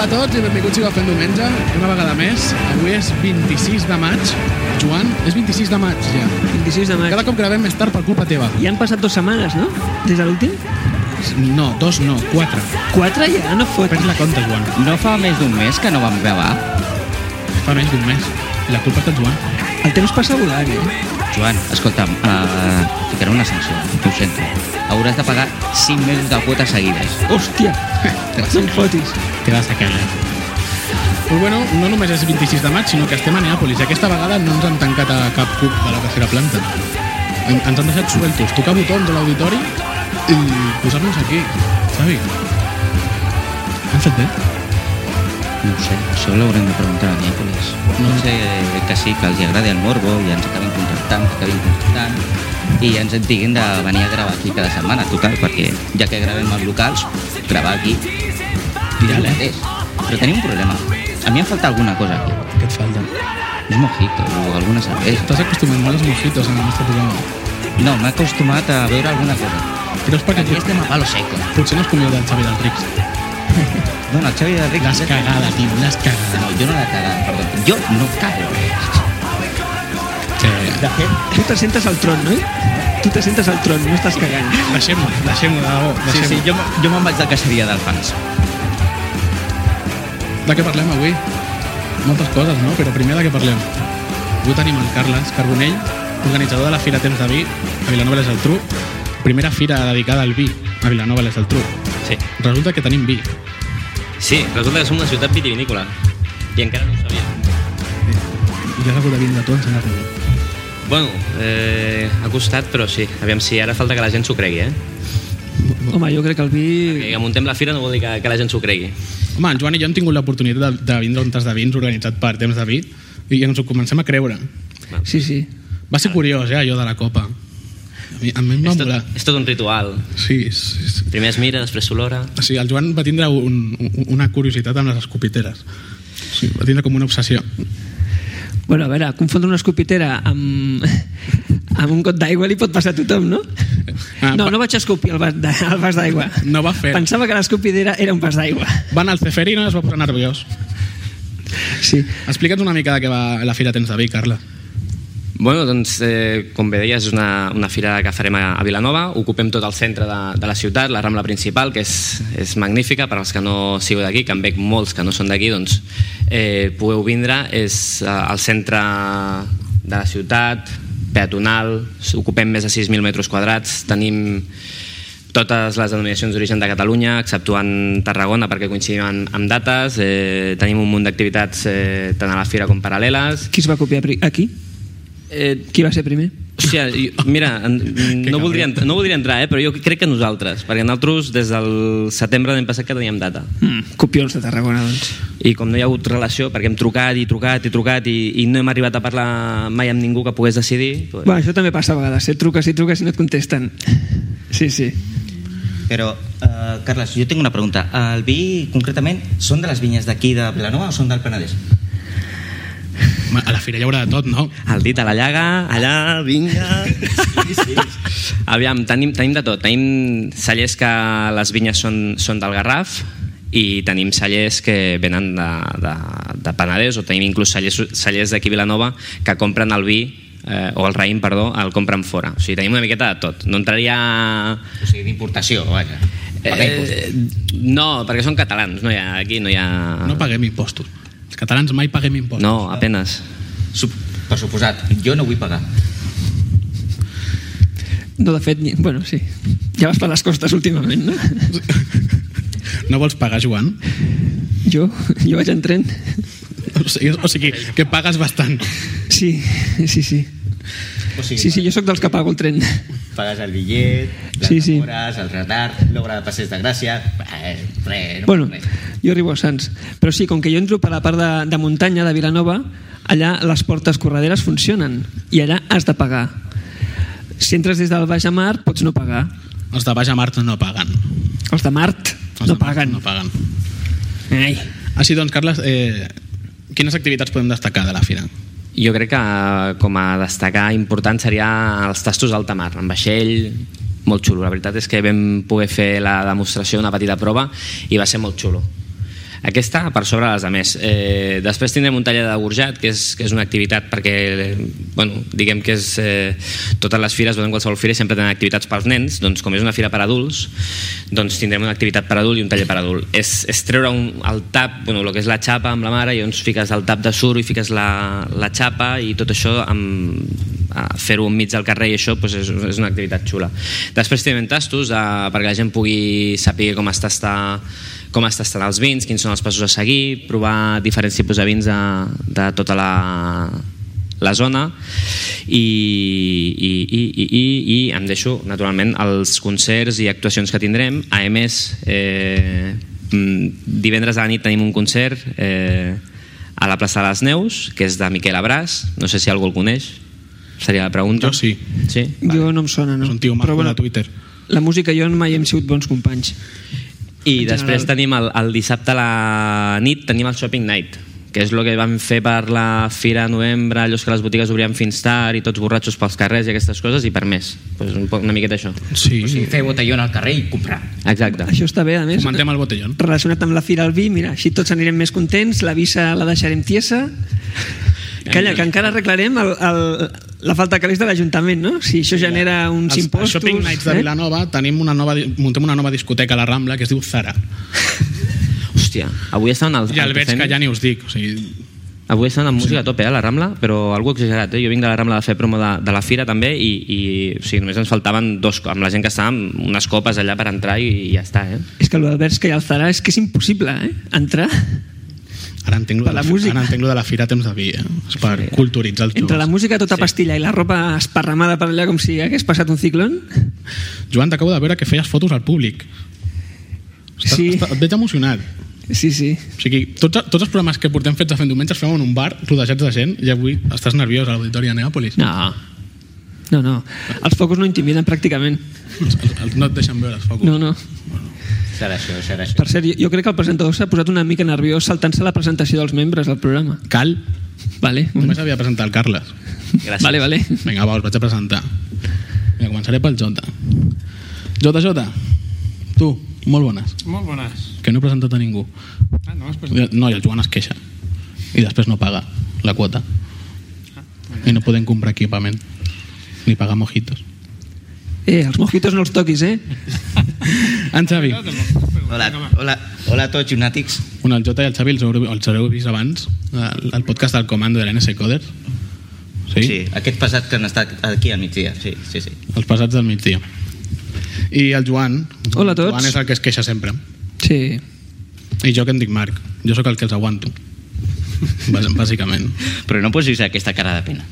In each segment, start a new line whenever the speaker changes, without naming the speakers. a tots i benvinguts i fent diumenge, una vegada més. Avui és 26 de maig. Joan, és 26 de maig, ja.
26 de maig.
Cada cop gravem més tard per culpa teva.
Ja han passat dues setmanes, no? Des de l'últim?
No, dos no, quatre.
Quatre ja? No fot.
Perds la compte, Joan.
No fa més d'un mes que no vam gravar?
Fa més d'un mes. I la culpa és del Joan.
El temps passa volant, eh?
Joan, escolta'm, uh, ficaré una sanció, ho sento. Hauràs de pagar 5 mesos de quotes seguides.
Hòstia! No em fotis.
Te vas a cagar. Però bueno, no només és 26 de maig, sinó que estem a Neàpolis. I aquesta vegada no ens han tancat a cap cub de la tercera planta. En- Ens han deixat sueltos, tocar botons a l'auditori i posar-nos aquí, Xavi. Han fet bé?
No ho sé, això l'haurem de preguntar a Niàpolis. No sé eh, que sí, que els hi agradi el morbo i ens acabin contractant, que acabin contractant i ens en diguin de venir a gravar aquí cada setmana, total, perquè ja que gravem als locals, gravar aquí ja
Viral, eh?
mateix. Però tenim un problema. A mi em falta alguna cosa aquí.
Què et falta?
Un mojito o alguna cervesa.
T'has acostumat molt als mojitos en el nostre programa.
No, m'he acostumat a veure alguna cosa.
Però és perquè
Aquí estem a palo seco.
potser no has comiat el Xavi del Rics.
No, no, el Xavi de Ric...
L'has cagada, tio, l'has cagada.
No, jo no la cagada, perdó. Jo no cago.
Sí.
De fet, tu te sentes al tron, no? Tu te sentes al tron, no estàs cagant.
Deixem-ho, deixem-ho, de debò.
Sí,
Deixem
sí, jo, me- jo me'n vaig de caceria d'alfans.
De què parlem avui? Moltes coses, no? Però primer de què parlem? Avui tenim en Carles Carbonell, organitzador de la Fira Temps de Vi, a Vilanova i la Geltrú. Primera fira dedicada al vi, a Vilanova i la Geltrú.
Sí.
Resulta que tenim vi.
sí, resulta que som una ciutat vitivinícola i encara no ho sabia.
I has hagut de vindre tu a ensenyar-lo.
Bueno, eh, ha costat, però sí. Aviam si ara falta que la gent s'ho cregui, eh?
Home, jo crec que el vi...
Que muntem la fira no vol dir que, que la gent s'ho cregui.
Home, en Joan i jo hem tingut l'oportunitat de, de vindre a un tas de vins organitzat per Temps de Vi i ens ho comencem a creure.
Sí, sí.
Va ser curiós, eh, allò de la copa. A mi, a mi em va
és, tot,
molar.
és tot un ritual.
Sí, sí, sí.
Primer es mira, després s'olora...
O sigui, el Joan va tindre un, un, una curiositat amb les escopiteres. O sigui, va tindre com una obsessió.
Bueno, a veure, confondre una escopitera amb, amb un got d'aigua li pot passar a tothom, no?
Ah,
no,
pa-
no vaig escopir el vas de- el vas d'aigua.
No va fer.
Pensava que l'escopidera era un vas d'aigua.
Va anar al Ceferino i es va posar nerviós.
Sí.
Explica'ns una mica de què va la Fira Tens de Vi, Carla.
Bueno, doncs, eh, com bé deies, és una, una fira que farem a, a Vilanova. Ocupem tot el centre de, de la ciutat, la Rambla principal, que és, és magnífica. Per als que no sigueu d'aquí, que en veig molts que no són d'aquí, doncs eh, podeu vindre. És eh, el centre de la ciutat, peatonal, ocupem més de 6.000 metres quadrats, tenim totes les denominacions d'origen de Catalunya, exceptuant Tarragona perquè coincidim amb, amb dates, eh, tenim un munt d'activitats eh, tant a la fira com paral·leles.
Qui es va copiar pri- aquí?
Eh,
Qui va ser primer?
Hòstia, jo- mira, en-
Que
no
cabron.
voldria, entrar, no voldria entrar, eh, però jo crec que nosaltres, perquè nosaltres des del setembre de l'any passat que teníem data.
Mm, copions de Tarragona, doncs.
I com no hi ha hagut relació, perquè hem trucat i trucat i trucat i, i no hem arribat a parlar mai amb ningú que pogués decidir... Doncs...
Bueno, això també passa a vegades, eh? truques i truques i no et contesten. Sí, sí.
Però, uh, Carles, jo tinc una pregunta. El vi, concretament, són de les vinyes d'aquí de Vilanova o són del Penedès?
Ma, A la Fira hi haurà de tot, no?
El dit a la llaga, allà, vinga... Sí, sí. Aviam, tenim, tenim de tot. Tenim cellers que les vinyes són, són del Garraf i tenim cellers que venen de, de, de Penedès o tenim inclús cellers, cellers d'aquí Vilanova que compren el vi eh, o el raïm, perdó, el compren fora. O sigui, tenim una miqueta de tot. No entraria...
O sigui, d'importació, vaja. Pagar impostos.
Eh, no, perquè són catalans, no hi ha, aquí no hi ha...
No paguem impostos. Els catalans mai paguem impostos.
no apenes.
Sup- Per suposat, jo no vull pagar.
No, de fet, ni- bueno, sí. Ja vas per les costes últimament, no?
No vols pagar, Joan?
Jo, jo vaig en tren.
O sigui, o sigui que pagues bastant.
Sí, sí, sí.
O sigui,
Sí, sí, jo sóc dels que pago el tren.
pagues el bitllet, les
Sí, sí.
demores, el retard, l'obra de passeig de gràcia... Eh, res, no
Bueno,
res.
jo arribo a Sants. Però sí, com que jo entro per la part de, de muntanya de Vilanova, allà les portes correderes funcionen i allà has de pagar. Si entres des del Baix a Mar, pots no pagar.
Els de Baix a Mart no paguen.
Els de Mart
Els
no
de Mart
paguen.
No paguen.
Ai.
Així doncs, Carles, eh, quines activitats podem destacar de la Fira?
Jo crec que eh, com a destacar important seria els tastos d'alta mar, en vaixell, molt xulo. La veritat és que vam poder fer la demostració, una petita prova, i va ser molt xulo. Aquesta per sobre de les altres. Eh, després tindrem un taller de gorjat, que és, que és una activitat perquè, eh, bueno, diguem que és... Eh, totes les fires, en qualsevol fira sempre tenen activitats pels nens, doncs com és una fira per adults, doncs tindrem una activitat per adult i un taller per adult. És, és treure un, el tap, bueno, el que és la xapa amb la mare, i doncs fiques el tap de suro i fiques la, la xapa i tot això amb, a fer-ho enmig del carrer i això doncs és, és una activitat xula. Després tenen tastos eh, perquè la gent pugui saber com està estar com es tasten els vins, quins són els passos a seguir, provar diferents tipus de vins de, de tota la, la zona i, i, i, i, i, i em deixo naturalment els concerts i actuacions que tindrem a més eh, divendres a la nit tenim un concert eh, a la plaça de les Neus que és de Miquel Abràs no sé si algú el coneix seria la pregunta.
Jo sí.
Sí?
Jo no em sona, no.
És un tio maco
Però,
bueno,
bueno,
de Twitter.
la música i jo mai hem sigut bons companys.
I
En general.
després tenim el, el dissabte a la nit tenim el Shopping Night que és el que vam fer per la fira a novembre, allò que les botigues obrien fins tard i tots borratxos pels carrers i aquestes coses i per més, pues un poc, una miqueta això
Sí.
O sigui, fer botellón al carrer i comprar.
exacte
Això està bé, a més.
Fomentem el botellón.
Relacionat amb la Fira al Vi, mira, així tots anirem més contents, la visa la deixarem tiesa. Calla, que encara arreglarem el, el, la falta de calés de l'Ajuntament, no? Si això genera uns
Els-
impostos... eh?
Els shopping nights de Vilanova tenim una nova, di- muntem una nova discoteca a la Rambla que es diu Zara.
hòstia, avui estan al,
I el veig que
Teceni.
ja ni us dic. O sigui,
Avui estan amb música a tope, eh, a la Rambla, però algú exagerat. Eh? Jo vinc de la Rambla de fer promo de, de la fira també i, i o sigui, només ens faltaven dos, co- amb la gent que estava amb unes copes allà per entrar i, i ja està. Eh?
És que l'Albert que hi alzarà és que és impossible, eh? Entrar
ara entenc lo de
Per
la,
la
fi-
música.
ara entenc lo de la fira a temps de vi, eh? És per culturitzar els
entre la
joves.
música tota pastilla i la ropa esparramada per allà com si hagués passat un ciclón.
Joan, t'acabo de veure que feies fotos al públic. Està,
Sí.
està, et veig emocionat.
Sí, sí.
O sigui, tots, tots els programes que portem fets a fent diumenge els fem en un bar rodejats de gent i avui estàs nerviós a l'auditori de Neàpolis.
No. No, no. Els focus no intimiden pràcticament.
No et deixen veure els focus.
No, no.
Serà això, serà això.
Per cert, jo, jo crec que el presentador s'ha posat una mica nerviós saltant-se la presentació dels membres del programa.
Cal,
Vale.
només havia de presentar el Carles.
Gràcies.
Vale, vale.
Vinga, va, us vaig a presentar. Mira, començaré pel Jota. Jota, Jota, tu, molt bones.
Molt bones.
Que no he presentat a ningú.
Ah, no, després...
No, i el Joan es queixa. I després no paga la quota.
Ah,
I no podem comprar equipament. Ni pagar mojitos.
Eh, els mojitos no els toquis, eh?
En Xavi.
Hola, hola, hola a tots, llunàtics.
Bueno, el Jota i el Xavi els haureu, els haureu vist abans al al podcast del comando de l'NS Coder. Sí?
Sí, aquest passat que han estat aquí al migdia. Sí, sí, sí.
Els passats del migdia. I el Joan.
Hola a
El
tots.
Joan és el que es queixa sempre.
Sí.
I jo que em dic Marc. Jo sóc el que els aguanto. Bàs- Bàsicament.
Però no posis aquesta cara de pena.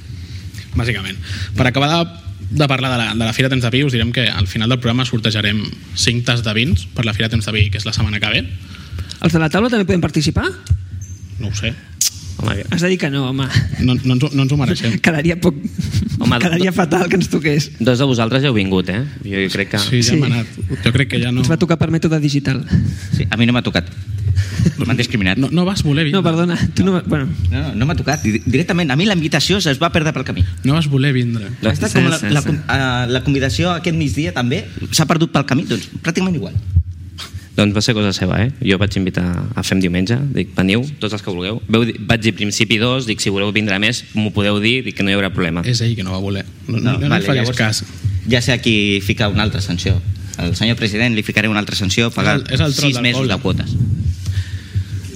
Bàsicament. Per acabar de, de parlar de la, de la Fira Temps de Vi, us direm que al final del programa sortejarem 5 tas de vins per la Fira Temps de Vi, que és la setmana que ve.
Els de la taula també poden participar?
No ho sé.
Home, que-
Has de dir que no, home.
No, no, ens, ho- no ens ho mereixem.
Quedaria poc...
Home,
Home, Quedaria fatal que ens toqués.
dos de vosaltres ja heu vingut, eh? Jo crec que...
Sí, ja hem anat. Jo crec que ja no...
Ens va tocar per mètode digital.
Sí, a mi no m'ha tocat. M'han discriminat.
No, no vas voler vindre.
No, perdona. Tu no... Bueno,
No, no, no m'ha tocat. Di- Directament, a mi la invitació se'ns va perdre pel camí.
No vas voler vindre.
Ha estat
Sí,
com la,
sí,
la,
sí.
la, la convidació aquest migdia també s'ha perdut pel camí, doncs pràcticament igual.
Doncs va ser cosa seva, eh? Jo vaig invitar a Fem Diumenge, dic, veniu, tots els que vulgueu. Veu, dir- vaig dir principi dos, dic, si voleu vindre més, m'ho podeu dir, dic que no hi haurà problema.
És ell que no va voler. No, no, no, no vale, faries cas.
Ja sé a qui ficar una altra sanció. Al senyor president li ficaré una altra sanció, pagar
És el- és el troll
sis
del
mesos
poble.
de quotes.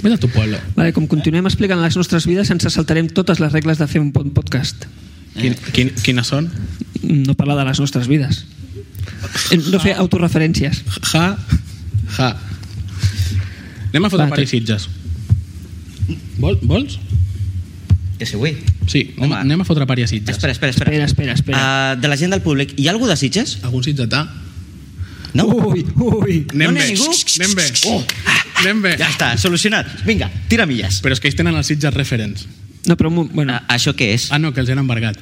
Vés a tu pueblo.
vale, com continuem explicant les nostres vides, ens saltarem totes les regles de fer un bon podcast.
Quin, quin, quines són?
No parlar de les nostres vides. Eh, No fer autorreferències.
Ja, ja. Anem a fotre
Va,
Paris Sitges. Vol, vols?
Que si vull.
Sí, anem,
Home.
anem a fotre Paris Sitges.
Espera, espera, espera.
Espera, espera, espera.
Uh, de la gent del públic, hi ha algú de Sitges?
Algun sitgetà?
No?
Ui, ui.
Anem
No n'hi
bé.
ha ningú?
Anem bé.
Oh.
Ah, Anem bé.
Ja està, solucionat. Vinga, tira milles.
Però és que ells tenen els Sitges referents.
No, però... un mo- Bueno,
Ah, això què és?
Ah, no, que els han embargat.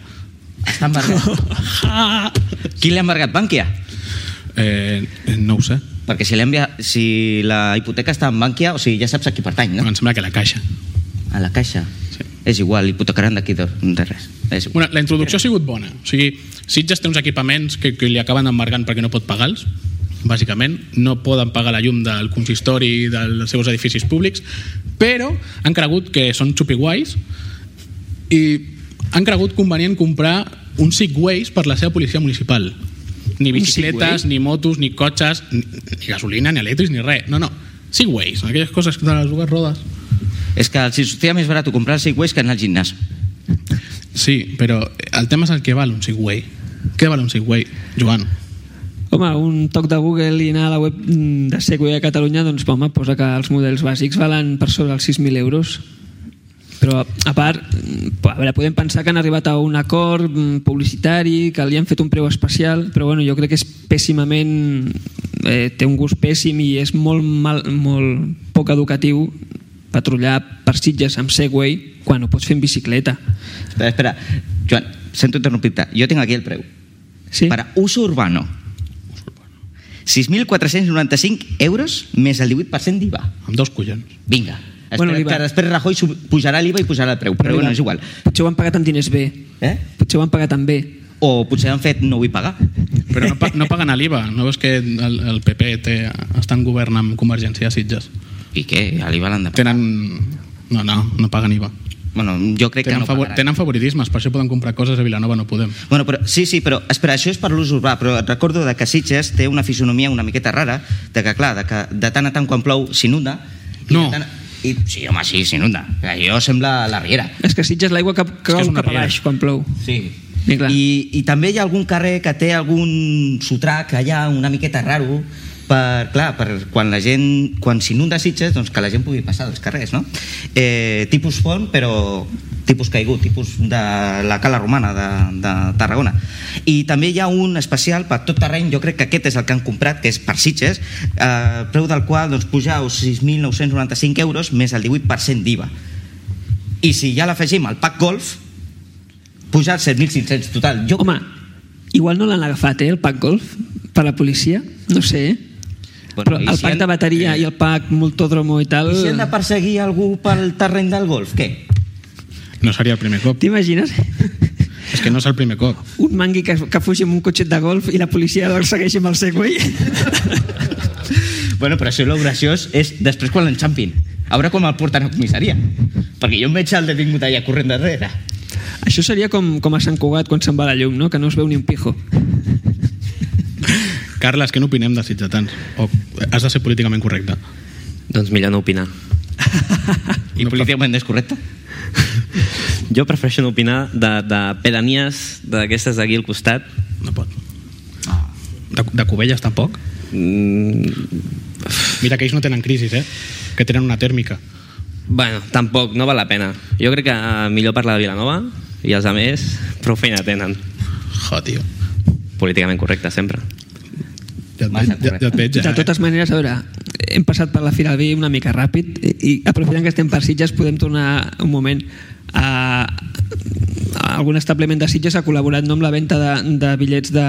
Està embargat. Qui l'ha embargat? Bànquia?
Eh, no ho sé.
Perquè si, l'envia, si la hipoteca està en Bànquia, o sigui, ja saps a qui pertany,
No.
no?
Em sembla que la caixa.
A la caixa.
Sí.
És igual, hipotecaran d'aquí de, de res. És igual.
Bueno, la introducció ha sigut bona. O sigui, Sitges té uns equipaments que, que li acaben embargant perquè no pot pagar-los. bàsicament, no poden pagar la llum del consistori dels seus edificis públics, però han cregut que són xupiguais i han cregut convenient comprar uns Segways per la seva policia municipal. Ni bicicletes, ni motos, ni cotxes, ni, ni gasolina, ni elèctrics, ni res. No, no. Segways, aquelles coses de les dues rodes.
És que els sortia més barat comprar el Segways que anar al gimnàs.
Sí, però el tema és el que val un Segway. Què val un Segway, Joan?
Home, un toc de Google i anar a la web mm, de Segway a Catalunya, doncs, home, posa que els models bàsics valen per sobre els 6.000 euros. Però, a part, mm, a veure, podem pensar que han arribat a un acord mm, publicitari, que li han fet un preu especial, però bueno, jo crec que és pèssimament... Eh, té un gust pèssim i és molt, mal, molt poc educatiu patrullar per Sitges amb Segway quan ho pots fer en bicicleta.
Espera, espera. Joan, sento interrompir-te. Jo tinc aquí el preu.
Sí?
Para uso urbano. 6.495 euros més el 18% d'IVA.
Amb dos collons.
Vinga.
Bueno,
Bueno,
l'IVA.
que després Rajoy sub- pujarà l'IVA i pujarà el preu, però bueno, és igual.
Potser ho han pagat amb diners bé.
Eh?
Potser ho han pagat amb bé.
O potser han fet no vull pagar.
Però no, pa- no paguen a l'IVA. No veus que el, el PP té, està en govern amb Convergència a Sitges?
I què? A l'IVA l'han de pagar.
Tenen... No, no, no paguen IVA.
Bueno, jo crec
Tenen,
que no
favor,
pagaran.
tenen favoritismes, per això poden comprar coses a Vilanova no podem.
Bueno, però, sí, sí, però espera, això és per l'ús urbà, però et recordo de que Sitges té una fisonomia una miqueta rara, de que, clar, de, que de tant a tant quan plou s'inunda... i
No.
de tant a- I, sí, home, sí, s'inunda. Jo sembla la Riera.
És que Sitges l'aigua cap,
que
cau
és una
cap a
riera.
baix quan plou.
Sí.
Sí, clar.
I, I també hi ha algun carrer que té algun sotrac allà una miqueta raro per, clar, per quan la gent quan s'inunda Sitges, doncs que la gent pugui passar dels carrers, no? Eh, tipus font, però tipus caigut, tipus de la Cala Romana de, de Tarragona. I també hi ha un especial per tot terreny, jo crec que aquest és el que han comprat, que és per Sitges, eh, preu del qual doncs, pujau 6.995 euros més el 18% d'IVA. I si ja l'afegim al pack golf, puja als 7.500 total. Jo,
Home, igual no l'han agafat, eh, el pack golf, per la policia, no sé, eh? Bueno,
Bueno,
Però
i
el
si
pack
han-
de bateria i el pack multodromo i tal...
I si hem de perseguir algú pel terreny del golf, què?
No seria el primer cop.
T'imagines?
És que no és el primer cop.
Un mangui que, que fugi amb un cotxet de golf i la policia el segueix amb el Segway?
Bueno, però això el graciós és després quan l'enxampin. A veure com el porten a comissaria. Perquè jo em veig el detingut allà corrent darrere.
Això seria com, com a Sant Cugat quan se'n va la llum, no? Que no es veu ni un pijo.
Carles, què n'opinem de sitgetans? O has de ser políticament correcte.
Doncs millor no opinar.
I no políticament descorrecte.
Jo prefereixo no opinar de, de pedanies d'aquestes d'aquí al costat.
No pot. De, de Cubelles tampoc?
Mm,
Mira que ells no tenen crisis, eh? Que tenen una tèrmica.
bueno, tampoc, no val la pena. Jo crec que eh, millor parlar de Vilanova i els altres prou feina tenen.
Jo, tio.
Políticament correcte, sempre.
Ja et,
Massa
veig, ja, ja et veig, eh? ja,
De totes maneres, a veure, hem passat per la Fira del Vi una mica ràpid i, i aprofitant que estem per Sitges podem tornar un moment a, a algun establiment de Sitges ha col·laborat no, amb la venda de, de bitllets de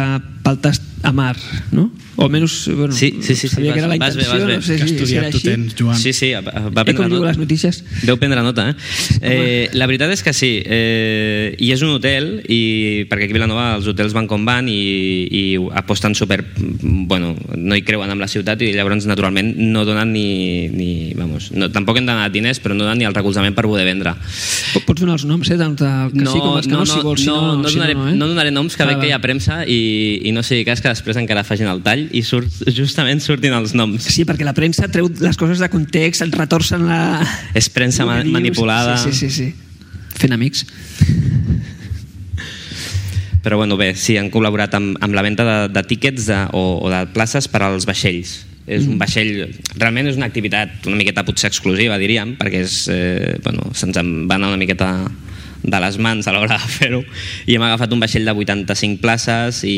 paltes a mar, no? O almenys, bueno,
Sí, sí, sí, sí,
sabia que
vas-
era la
vas bé,
intenció,
vas bé.
no sé
Que
si, si era
estudiat tu
així.
tens, Joan.
Sí, sí, va- va
Eh, com
prendre
diu
nota.
les notícies?
Deu prendre nota, eh? eh la veritat és que sí. Eh, I és un hotel, i perquè aquí a Vilanova els hotels van com van i, i aposten super... Bueno, no hi creuen amb la ciutat i llavors, naturalment, no donen ni... ni vamos, no, tampoc hem donat diners, però no donen ni el recolzament per poder vendre.
Po- Pots donar els noms, eh? Tant del que sí com els que no, si vols. si
no, no,
si
donaré,
no, eh?
no donaré noms, que
Ah,
veig
va.
que hi ha premsa i, i no sigui cas que després encara facin el tall i surt, justament surtin els noms.
Sí, perquè la premsa treu les coses de context, et retorcen la...
És premsa
el que
ma-
dius.
manipulada.
Sí, sí, sí, sí. Fent amics.
Però bueno, bé, sí, han col·laborat amb, amb la venda de, de tíquets de, o, o de places per als vaixells. És un vaixell, realment és una activitat una miqueta potser exclusiva, diríem, perquè és, eh, bueno, se'ns en va anar una miqueta de les mans a l'hora de fer-ho i hem agafat un vaixell de 85 places i,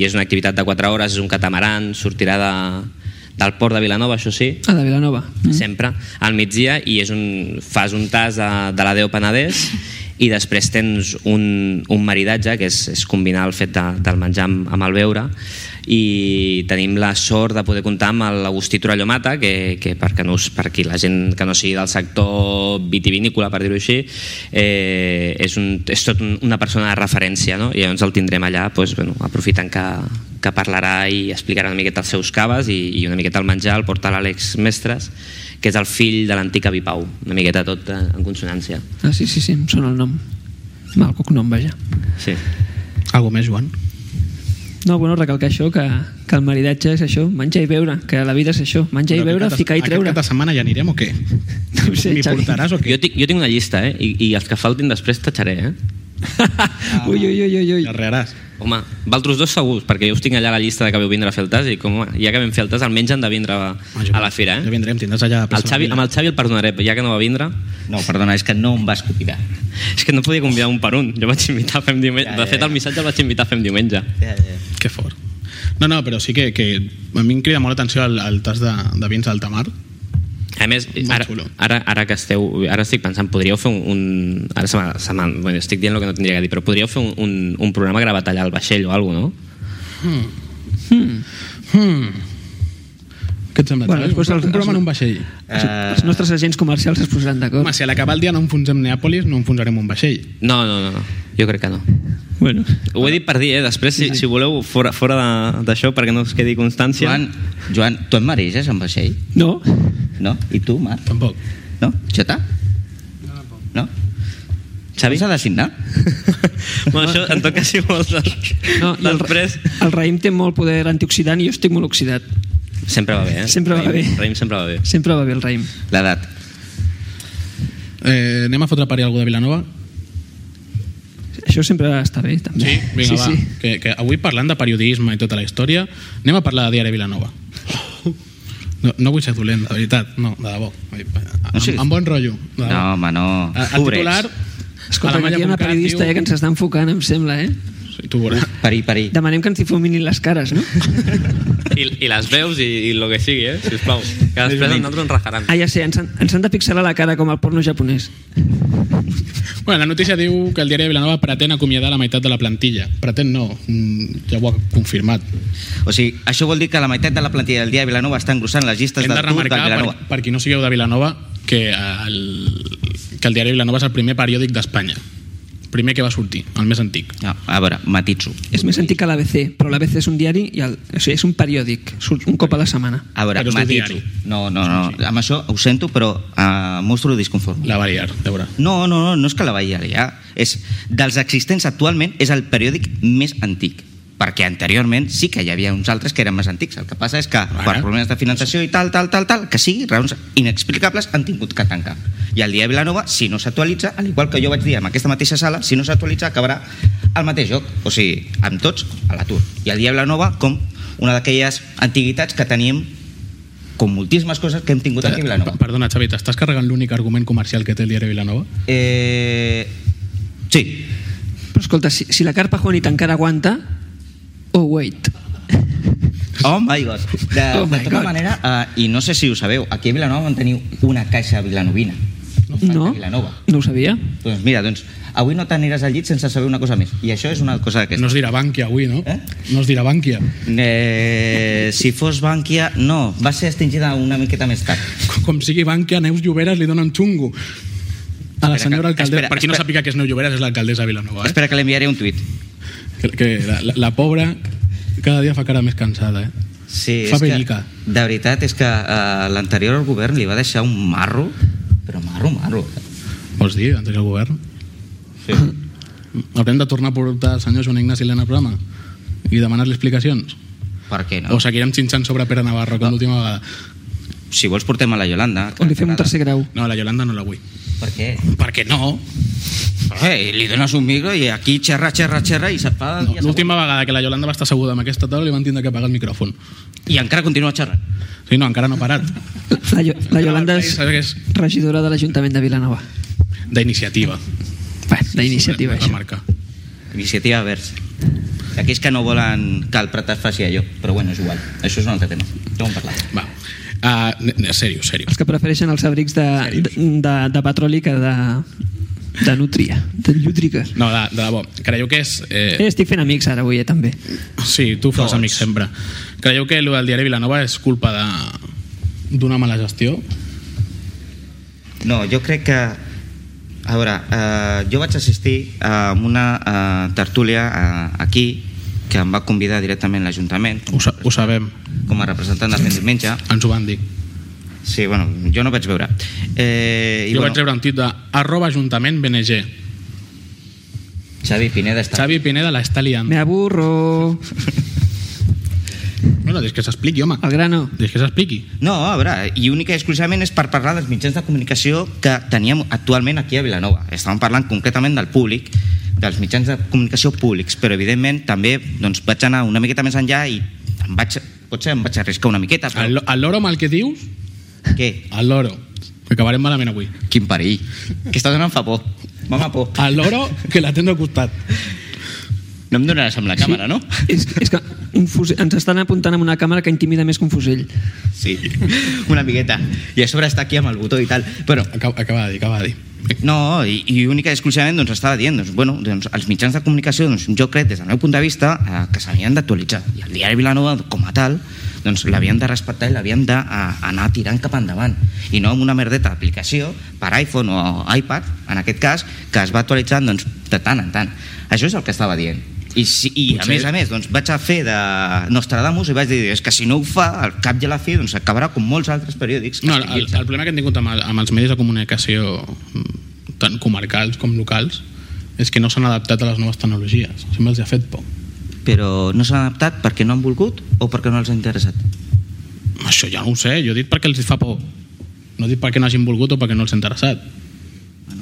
i és una activitat de 4 hores, és un catamaran, sortirà de, del port de Vilanova, això sí,
A la Ah, Vilanova.
mm. sempre al migdia i és un, fas un tas de, de la Déu Penedès i després tens un, un maridatge que és, és combinar el fet de, del menjar amb, amb el beure i tenim la sort de poder comptar amb l'Agustí Torelló Mata que, que per, que no, us- per qui la gent que no sigui del sector vitivinícola per dir-ho així eh, és, un, és tot un, una persona de referència no? i llavors el tindrem allà doncs, bueno, aprofitant que, que parlarà i explicarà una miqueta els seus caves i, i una miqueta el menjar el porta l'Àlex Mestres, que és el fill de l'antic avi Pau, una miqueta tot eh, en consonància.
Ah, sí, sí, sí, em sona el nom. Va, el cognom, vaja.
Sí.
Algo més, Joan?
No, bueno, recalcar això, que, que el maridatge és això, menjar i beure, que la vida és això, menjar i
Però
beure,
aquest
ficar i
aquest
treure.
cap de setmana ja anirem o què?
No ho sé,
M'hi
Xavi.
portaràs o
Jo
què?
tinc, jo tinc una llista, eh? I, i els que faltin després tatxaré, eh?
ui, ui, ui, ui, ui.
Arrearàs.
Home, valtros dos segurs, perquè jo us tinc allà la llista de que veu vindre a fer el tas i com, home, ja que vam fer el tas, almenys han de vindre a, a la fira,
Ja
eh?
vindrem, tindràs allà... a
El
plaça
Xavi,
Vila.
amb el Xavi el perdonaré, però ja que no va vindre...
No, perdona, és que no em vas convidar.
És que no podia convidar un per un. Jo vaig invitar a Fem Diumenge.
Ja,
De
ja,
fet,
ja.
el missatge el vaig invitar a Fem Diumenge.
Ja, ja.
Que fort. No, no, però sí que, que a mi em crida molt l'atenció el, el tas de, de vins d'alta mar.
A més,
Molt
ara,
xulo.
ara, ara que esteu... Ara estic pensant, podríeu fer un... un ara se m'ha- se m'ha- bueno, estic dient el que no tindria que dir, però podríeu fer un, un, un programa gravat allà al vaixell o alguna cosa, no?
Hmm. Què et sembla?
Bueno,
Xavi?
després
un,
els-
un programa
els-
en un vaixell.
Els, els nostres agents comercials es posaran d'acord.
Eh, Home, si a l'acabar el dia no enfonsem Neàpolis, no enfonsarem un vaixell.
No, no, no, no. Jo crec que no.
Bueno.
Ho he dit per dir, eh? Després, si, si voleu, fora, fora de- d'això, perquè no us quedi constància...
Joan, Joan, tu et mareges amb vaixell?
No?
No? I tu, Marc?
Tampoc.
No? Xota? No? Xavi? S'ha de signar?
bueno, això, en tot cas, si vols, no,
no i el,
després...
el raïm té molt poder antioxidant i jo estic molt oxidat.
Sempre va bé, eh?
Sempre va
Raïm-
bé.
Raïm sempre va bé.
Sempre va bé el raïm.
L'edat.
Eh, anem a fotre a parir algú de Vilanova?
Això sempre està bé, també.
Sí, vinga,
sí,
va.
sí.
Que, que avui parlant de periodisme i tota la història, anem a parlar de Diari Vilanova. No, no vull ser dolent, de veritat, no, de debò. Amb,
sé.
amb bon rotllo. de debò.
No, home, no.
El- El
Pobrets.
titular...
Escolta, que
Alemanya
aquí hi ha una
Montcada
periodista
diu-
eh, que ens està enfocant, em sembla, eh?
Sí, tu veuràs.
Parí, parí.
Demanem que ens difuminin les cares, no?
I, i les veus i, i lo que sigui, eh? Sisplau. Que després a nosaltres ens rajaran.
Ah, ja sé, ens, han- ens han de pixelar la cara com el porno japonès.
Bueno, la notícia diu que el diari de Vilanova pretén acomiadar la meitat de la plantilla. Pretén no, mm, ja ho ha confirmat.
O sigui, això vol dir que la meitat de la plantilla del dia de Vilanova està engrossant les llistes
Hem de
d'atur del
remarcar,
Vilanova.
per, per qui no sigueu de Vilanova, que el, que el diari de Vilanova és el primer periòdic d'Espanya. El primer que va sortir, el més antic.
No, a veure, matitzo.
És més antic que l'ABC, però l'ABC és un diari, i el, o sigui, és un periòdic, surt un cop a la setmana.
A veure,
Però és un
matitzo.
diari.
No, no, no. Amb això ho sento, però eh, mostro disconforme.
La va liar, de veure.
No, no, no, no és que la vagi ja. És, dels existents actualment és el periòdic més antic perquè anteriorment sí que hi havia uns altres que eren més antics. El que passa és que
Ara.
per problemes de finançació i tal, tal, tal, tal, que sí, raons inexplicables han tingut que tancar. I el dia de Vilanova, si no s'actualitza, al igual que jo vaig dir en aquesta mateixa sala, si no s'actualitza acabarà al mateix lloc. O sigui, amb tots a l'atur. I el dia de Vilanova com una d'aquelles antiguitats que teníem com moltíssimes coses que hem tingut aquí a Vilanova.
Eh, Per- Perdona, Xavi, t'estàs carregant l'únic argument comercial que té el diari de Vilanova?
Eh... Sí,
Però escolta, si, si la carpa Juanita encara aguanta, oh wait.
Oh my god. De,
Oh
oh
my
my de tota
God.
manera, uh, i no sé si ho sabeu, aquí a Vilanova van tenir una caixa vilanovina. No falta
No,
Vilanova.
no ho sabia.
Doncs mira, doncs, avui no t'aniràs al llit sense saber una cosa més. I això és una cosa
No
d'aquesta.
es dirà Bànquia avui, no?
Eh?
No es dirà Bànquia.
Eh, si fos Bànquia, no, va ser extingida una miqueta més tard.
Com sigui Bànquia, Neus Lloberes li dona un xungo. A la
Espera,
senyora
que-
alcaldessa,
espera,
per qui no
espera.
sàpiga que és Neus Lloberes, és l'alcaldessa de Vilanova. Eh?
Espera que li enviaré un tuit.
Que, que la, la, la pobra cada dia fa cara més cansada, eh?
Sí,
Fa
és que,
pelica.
de veritat és que uh, l'anterior govern li va deixar un marro, però marro, marro.
Vols dir, anterior govern?
Sí.
Haurem de tornar a portar el senyor Joan Ignasi Elena al programa i demanar-li explicacions?
Per què
No.
no?
O seguirem xinxant sobre Pere Navarro com l'última vegada?
Si vols portem a la Yolanda. que
O li fem un
m'agrada.
tercer grau.
No, la Yolanda no la vull.
Per què?
Perquè no.
Eh, li dones un micro i aquí xerra, xerra, xerra i s'enfada.
no
No,
L'última vegada que la Yolanda va estar asseguda amb aquesta taula li van tindre que pagar el micròfon.
I encara continua xerrant.
Sí, no, encara no ha parat.
La, Jo- la Yolanda és
Saps què és?
regidora de l'Ajuntament de Vilanova.
D'iniciativa.
Bé, d'iniciativa,
La
això.
marca.
Iniciativa Verge. Aquells que no volen que el Prat es faci allò. Però bueno, és igual. Això és un altre tema. Ja ho hem parlat.
Va. Uh, ne, ne, serios, serios.
Els que prefereixen els abrics de, de, de, de petroli que de, de nutria, de llútrica.
No, de, de debò. Creieu que és... Eh,
Eh, estic fent amics ara avui, eh, també.
sí, tu fas amic sempre. Creieu que el del diari Vilanova és culpa de d'una mala gestió?
No, jo crec que... A veure, eh, jo vaig assistir a una eh, tertúlia eh, aquí que em va convidar directament l'Ajuntament
Ho, sa ho sabem,
com a representant del diumenge.
ens ho van dir.
Sí, bueno, jo no vaig veure. Eh, i
jo
bueno,
vaig treure un tuit de arroba ajuntament BNG.
Xavi Pineda està...
Xavi Pineda la està liant.
Me aburro.
Bueno, dius que s'expliqui, home.
Al grano.
Dius que s'expliqui.
No, a veure, i única i exclusivament és per parlar dels mitjans de comunicació que teníem actualment aquí a Vilanova. Estàvem parlant concretament del públic, dels mitjans de comunicació públics, però evidentment també doncs, vaig anar una miqueta més enllà i em vaig, potser em vaig arriscar una miqueta,
El,
però
lo- el loro mal que dius,
què?
el loro. Que acabarem malament avui.
Quin perill. Aquesta dona em fa por. Mama por.
El loro que la tens al costat.
No em donaràs amb la càmera, no?
És, és que un fusell, ens estan apuntant amb una càmera que intimida més que un fusell.
Sí, una miqueta. I a sobre està aquí amb el botó i tal. Però
Acaba, acaba de dir, acaba de dir.
No, i, i única i exclusivament doncs, estava dient, doncs, bueno, doncs, els mitjans de comunicació, doncs, jo crec, des del meu punt de vista, eh, que s'havien d'actualitzar. I el diari Vilanova, com a tal, doncs, l'havien de respectar i l'havien d'anar tirant cap endavant. I no amb una merdeta d'aplicació per iPhone o iPad, en aquest cas, que es va actualitzant doncs, de tant en tant. Això és el que estava dient. I, si, i a
Potser-
més a més, doncs, vaig a fer de Nostradamus i vaig dir és que si no ho fa, al cap i a la fi doncs, acabarà com molts altres periòdics. que
No, el, el,
estigui-
el problema que hem tingut amb, el- amb els medis de comunicació mm, tant comarcals com locals és que no s'han adaptat a les noves tecnologies. Sempre els ha fet por.
però no s'han adaptat perquè no han volgut o perquè no els ha interessat?
Això ja no ho sé, jo he dit perquè els fa por. No he dit perquè no hagin volgut o perquè no els ha interessat.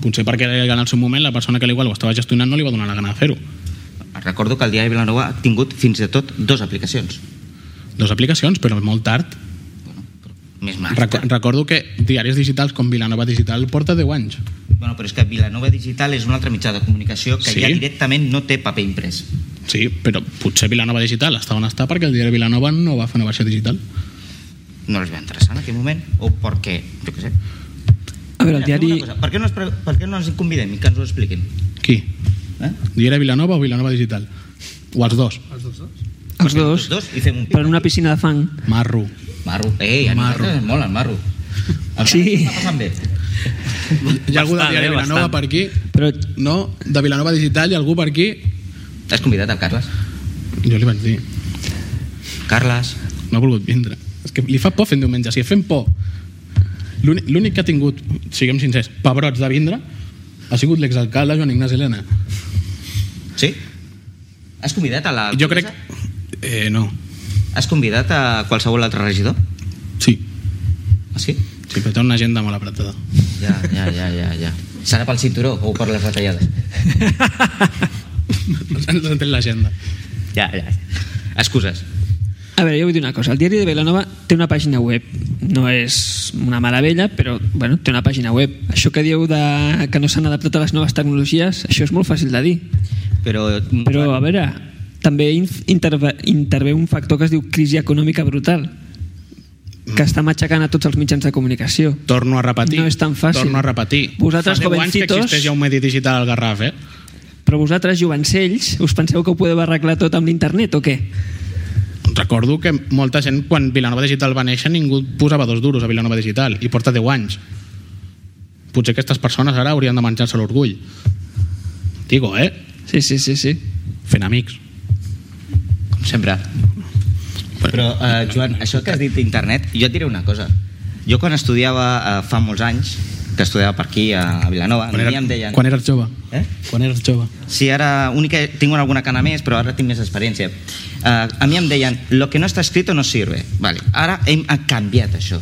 Potser perquè en el seu moment la persona que igual ho estava gestionant no li va donar la gana de fer-ho.
Recordo que el diari Vilanova ha tingut fins i tot dues aplicacions.
Dos aplicacions, però molt tard.
Més mal.
Reco recordo que diaris digitals com Vilanova Digital porta 10 anys.
Bueno, però és que Vilanova Digital és un altre mitjà de comunicació que
Sí.
sí. ja directament no té paper imprès.
Sí, però potser Vilanova Digital està on està perquè el diari Vilanova no va fer una versió digital.
No els va interessar en aquell moment o perquè, jo què sé.
A veure, el
Mira, fem
diari...
una cosa, Per què, no ens, pre- per què no ens hi convidem i que ens ho expliquin?
Qui?
Eh?
Diari Vilanova o Vilanova Digital? O els dos?
Els dos,
Tots dos i fem un
però en una piscina de fang.
Marro.
Marro. Ei, a
Marro.
marro. nosaltres ens mola el marro. El
Sí.
marro està passant bé.
Hi ha algú de
Bastant,
Diari
eh,
Vilanova
bastant.
per aquí?
Però
No, de Vilanova Digital hi ha algú per aquí?
T'has convidat el Carles?
Jo li vaig dir,
Carles.
no ha volgut vindre. És que li fa por fer un diumenge, si fem por. L'únic l'únic que ha tingut, siguem sincers, pebrots de vindre, ha sigut l'exalcalde Joan Ignasi Helena.
Sí? Has convidat a la...
Jo crec... Eh, no.
Has convidat a qualsevol altre regidor?
Sí.
Ah, sí?
Sí, però té una agenda molt apretada.
Ja, ja, ja, ja, ja. Serà pel cinturó o per les retallades?
Ens han entès l'agenda.
Ja, ja. Excuses.
A veure, jo vull dir una cosa. El diari de Vilanova té una pàgina web. No és una meravella, però bueno, té una pàgina web. Això que dieu de que no s'han adaptat a les noves tecnologies, això és molt fàcil de dir.
Però...
Però, a veure, també inf- interve, intervé un factor que es diu crisi econòmica brutal,
Mm.
que està matxacant a tots els mitjans de comunicació.
Torno a repetir.
No és tan fàcil.
Torno a repetir.
Vosaltres,
Fa 10 anys que
jovencitos-
existeix ja un medi digital al Garraf, eh?
Però vosaltres, jovencells, us penseu que ho podeu arreglar tot amb l'internet o què?
Recordo que molta gent, quan Vilanova Digital va néixer, ningú posava dos duros a Vilanova Digital i porta 10 anys. Potser aquestes persones ara haurien de menjar-se l'orgull. Digo, eh?
Sí, sí, sí, sí.
Fent amics.
Com sempre. Però, eh, Joan, això que has dit d'internet, jo et diré una cosa. Jo quan estudiava eh, fa molts anys, que estudiava per aquí, a, a Vilanova, a mi em deien...
quan eres jove?
Eh?
Quan eres jove?
Sí, ara única, tinc alguna cana més, però ara tinc més experiència. Uh, a mi em deien, lo que no està escrito no sirve. Vale. Ara hem canviat això.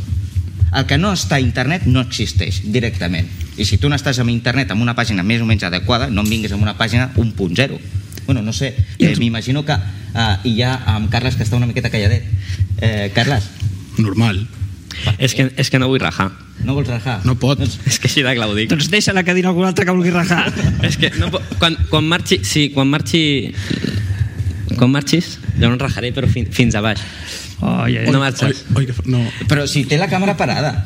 El que no està a internet no existeix directament. I si tu no estàs amb internet amb una pàgina més o menys adequada, no em vinguis amb una pàgina 1.0. Bueno, no sé, eh, m'imagino que... Uh, I ja amb Carles, que està una miqueta calladet. Eh, Carles, eh,
Normal.
És que, és que no vull rajar.
no vols rajar?
No pot.
És que així de clar ho dic.
Doncs deixa la cadira algun altre que vulgui rajar.
És que no, po- quan, quan marxi... Sí, quan marxi... Quan marxis, jo no rajaré, però fin, fins a baix.
Oh, ja, ja.
No marxes.
Oi, oi, que fa- no.
Però si té la càmera parada.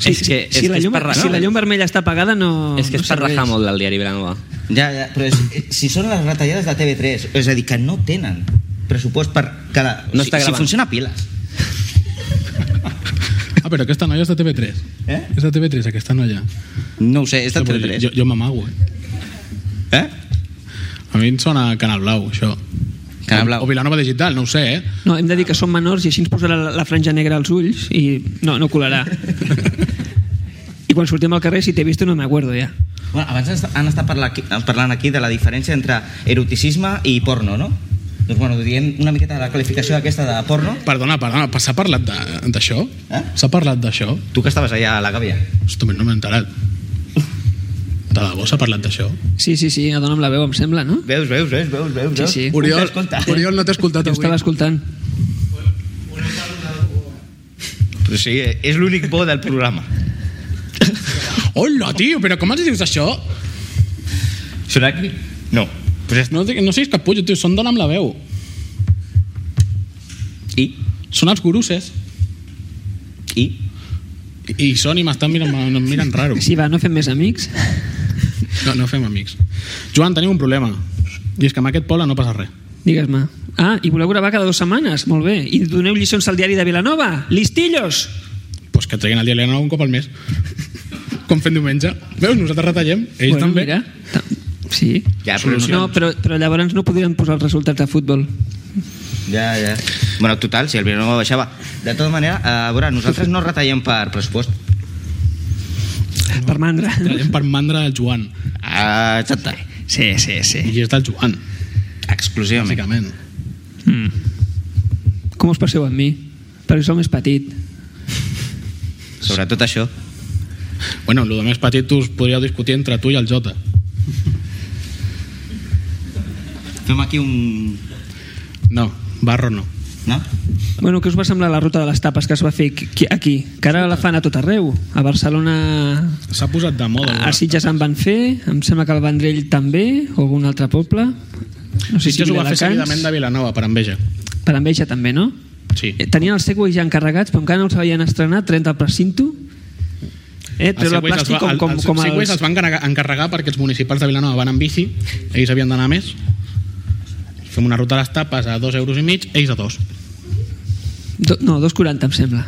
Sí,
és que, és
si, la
que és
llum,
per rajar.
si la llum vermella està apagada no...
és que
no
és per
serveix.
rajar molt del diari Vilanova.
Ja, ja, però és, eh, si són les retallades de TV3, és a dir, que no tenen pressupost per cada...
No
si,
està
si
gravant.
funciona a piles.
Ah, però aquesta noia és de TV3.
Eh?
És de TV3, aquesta noia.
No ho sé, és de TV3.
Jo, jo m'amago, eh?
Eh?
A mi em sona Canal Blau, això.
Cara blau.
O Vilanova Digital, no ho sé, eh?
No, hem de dir que són menors i així ens posarà la, la franja negra als ulls i no, no colarà. I quan sortim al carrer, si t'he vist no m'acuerdo ja.
Bueno, abans ens- han estat parla- aquí- eh, parlant aquí de la diferència entre eroticisme i porno, no? Doncs bueno, diem una miqueta de la qualificació aquesta de porno.
Perdona, perdona, s'ha parlat de- d'això?
Eh?
S'ha parlat d'això?
Tu que estaves allà a la gàbia.
Hosti, no m'he enterat. De debò s'ha parlat d'això?
Sí, sí, sí, una dona amb la veu, em sembla, no?
Veus, veus, veus, veus, veus.
Sí,
veus.
sí.
Oriol,
escolta.
Oriol no t'he escoltat
Jo
avui.
estava escoltant.
Però sí, eh, és l'únic bo del programa.
Hola, tio, però com els dius això?
Serà aquí? No. Pues és...
No, dic- no siguis capullo, tio, són dona amb la veu.
I?
Són els guruses.
I?
I, i són i m'estan mirant, em miren raro.
Sí, va, no fem més amics.
No, no fem amics. Joan, tenim un problema. I és que amb aquest poble no passa res.
Digues-me. Ah, i voleu gravar cada dues setmanes? Molt bé. I doneu lliçons al diari de Vilanova? Listillos!
Pues que treguin el diari un cop al mes. Com fem diumenge. Veus, nosaltres retallem, ells
Bueno,
també.
mira, ta- Sí.
Ja, però no,
No, però, però llavors no podrien posar els resultats de futbol.
Ja, ja. Bueno, total, si el Vilanova baixava. De tota manera, a veure, nosaltres no retallem per pressupost.
Per mandra.
Treballem per mandra el Joan.
Ah, exacte.
Sí, sí, sí.
I és del Joan,
Exclusivament.
bàsicament.
Mm. Com us passeu amb mi? Perquè sou més petit.
Sobretot això.
Bueno, el més petit us podríeu discutir entre tu i el Jota.
Fem aquí un...
No, Barro no.
No?
Bueno, què us va semblar la ruta de les tapes que es va fer qui- aquí? Que ara la fan a tot arreu. A Barcelona...
S'ha posat de moda.
A Sitges en van fer, em sembla que al Vendrell també, o algun altre poble. No sé
Sitges
si
ho va fer seguidament
de...
de Vilanova, per enveja.
Per Enveja també, no?
Sí.
Eh, Tenien els Segways ja encarregats, però encara no els havien estrenat, 30 al precinto. Eh,
Els
treure el
Segways els,
plàstic
va,
com,
com,
com,
els,
com
Segways
els...
els van encarregar, encarregar perquè els municipals de Vilanova van amb bici, ells havien d'anar més. Fem una ruta a les tapes a dos euros i mig, ells a dos.
Do, no, 2,40 em sembla.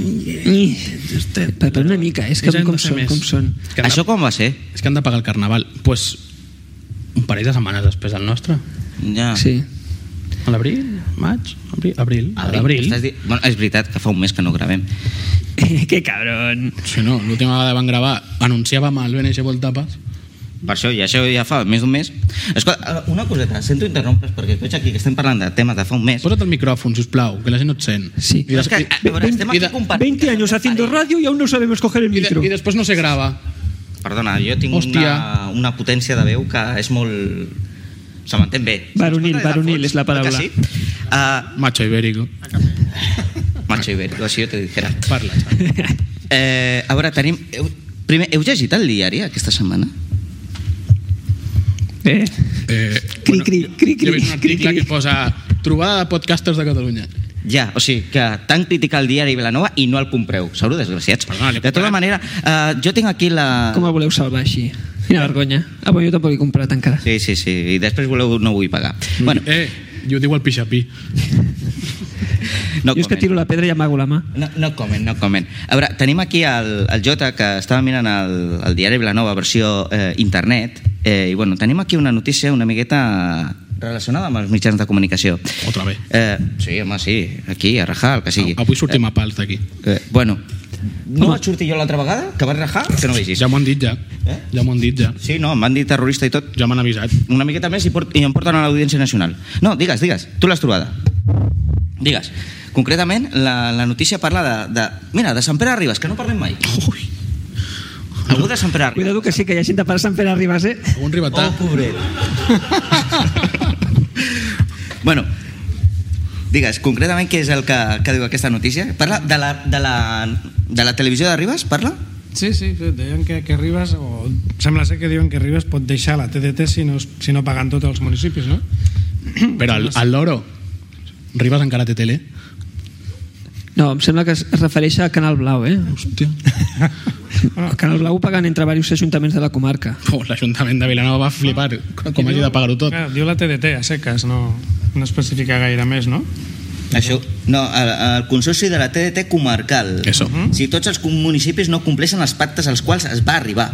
I, per, per una mica, és que
Ells han de
com
fer
són,
més.
com són.
És que, han
Això com va ser?
de, és que han de pagar el carnaval. Doncs pues, un parell de setmanes després del nostre.
Ja.
Sí.
A l'abril? Maig? Abril? Abril. A l'abril.
Estàs Di... Bueno, és veritat que fa un mes que no gravem.
que cabrón.
Si no, l'última vegada van gravar, anunciàvem el BNG Vol Tapes.
Per això, i això ja fa més d'un mes. Escolta, eh, una coseta, sento interrompre's perquè veig aquí que estem parlant de temes de fa un mes.
Posa't el micròfon, si us plau, que la gent no et sent.
Sí.
I,
És que,
des,
a veure, estem
i
aquí
de-
compartint...
20 años haciendo radio y aún no sabemos coger el
i, de,
micro.
i després no se grava.
Perdona, jo tinc una,
Hòstia.
una potència de veu que és molt... Se m'entén bé.
Varonil,
Escolta,
varonil és la
oi que
paraula.
Sí? Uh,
Macho ibérico.
macho ibérico, si jo te dijera.
Parla, Xavi.
Eh, a veure, tenim... Heu, primer, heu llegit el diari aquesta setmana?
Eh?
Eh,
Cri, cri, cri, cri,
jo he vist un
cri,
article
cri.
que posa trobada de podcasters de Catalunya.
Ja, o sigui, que tant critica el diari Vilanova i no el compreu. Segur, desgraciats.
Perdona, l'he
de tota
comprat.
manera, eh, jo tinc aquí la...
Com el voleu salvar així? Quina vergonya. Ah, bueno, jo tampoc he comprat encara.
Sí, sí, sí. I després voleu no vull pagar.
Mm.
Bueno,
Eh, i ho diu el pixapí.
no
jo és que
comen.
tiro la pedra i amago la mà.
No, no comen, no comen. A veure, tenim aquí el, el Jota, que estava mirant el, el diari Vilanova, versió eh, internet, eh, i bueno, tenim aquí una notícia una miqueta relacionada amb els mitjans de comunicació.
Otra vez.
Eh, sí, home, sí, aquí, a rajar, el que sigui.
Avui sortim a pals d'aquí.
Eh, bueno, no vaig sortir jo l'altra vegada, que vaig rajar, que no vegis.
Ja m'ho han dit ja.
Eh?
Ja m'ho han dit ja.
Sí, no, em van dir terrorista i tot.
Ja m'han avisat.
Una miqueta més i, port, i em porten a l'Audiència Nacional. No, digues, digues, tu l'has trobada. Digues. Concretament, la, la notícia parla de, de... Mira, de Sant Pere Arribas, que no parlem mai. Ui. Algú de Sant Pere Arribas.
Cuidado que sí, que hi ha gent de per Sant Pere Ribas, eh?
Un ribatà.
Oh, pobret. bueno, digues, concretament què és el que, que diu aquesta notícia? Parla de la, de la, de la televisió de Ribas? Parla?
Sí, sí, deien que, que Ribas, o sembla ser que diuen que Ribas pot deixar la TDT si no, es- si no paguen tots els municipis, no?
Però al, al loro. Ribas encara té tele.
No, em sembla que es es refereix a Canal Blau, eh?
Hòstia. Ah,
El Canal Blau pagant entre diversos ajuntaments de la comarca.
Oh, L'Ajuntament de Vilanova va flipar com hagi de pagar-ho tot.
Clar, diu la TDT, a seques, no, no especifica gaire més, no?
Això, no, el, el Consorci de la TDT comarcal.
Eso.
Si tots els com- municipis no compleixen els pactes als quals es va arribar.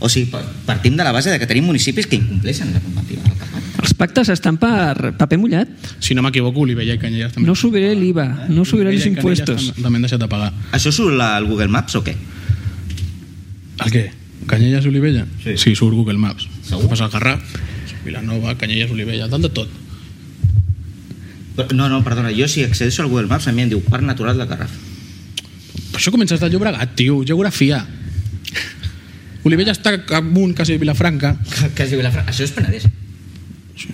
O sigui, pa- partim de la base de que tenim municipis que incompleixen la normativa del capat.
Els pactes estan per paper mullat.
Si no m'equivoco, Olivella i Canyelles també.
No subiré l'IVA, no subiré
Olivella
els
i Canyelles
impuestos.
tam- També han deixat de pagar.
Això surt al Google Maps o què?
El què? Canyelles i Olivella? Sí. sí, surt Google Maps. Segur? Passa al Garraf, Vilanova, Canyelles, Olivella, tant de tot.
Però- No, no, perdona, jo si accedesso al Google Maps a mi em diu Parc Natural de Garraf.
Però això comences del Llobregat, tio, geografia. Olivella està amunt, quasi de Vilafranca.
Que es diu la frase? Això és Penedès.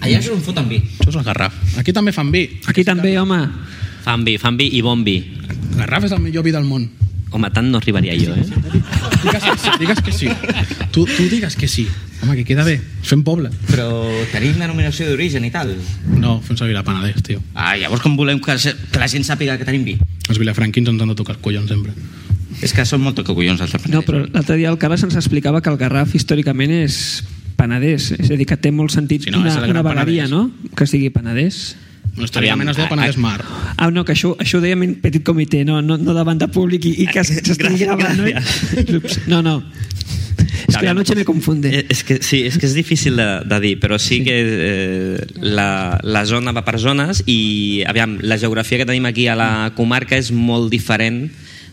Allà és on foten vi.
Això és el Garraf. Aquí també fan vi.
Aquí també, home.
Fan vi, fan vi i bon vi.
Garraf és el millor vi del món.
Home, tant no arribaria jo, eh?
Digues que sí, digues que sí. Tu, tu digues que sí. Home, que queda bé. Fem poble.
Però tenim denominació d'origen i tal.
No, fem servir la Penedès, tio.
Ah, llavors com volem que, se- que la gent sàpiga que tenim vi?
Els vilafranquins ens han de tocar els collons sempre.
És que són molt tococollons els del Penedès.
No, però l'altre dia el Carles ens explicava que el Garraf històricament és penedès, és a dir, que té molt sentit
Sí, no,
una,
és el gran
una vegueria,
Penedès.
no?, que es digui penedès.
No estaria
Aviam,
menes de
a-
Penedès
a-
Mar.
Ah, no, que això, això ho dèiem en petit comitè, no, no, no davant de públic i, i que
Eh,
s'estigui gravant, no? Ups, No, no. És que la noche me confunde.
Eh, És que, sí, és que és difícil de, de dir, però sí, que eh, la, la zona va per zones i, aviam, la geografia que tenim aquí a
Mm.
la comarca és molt diferent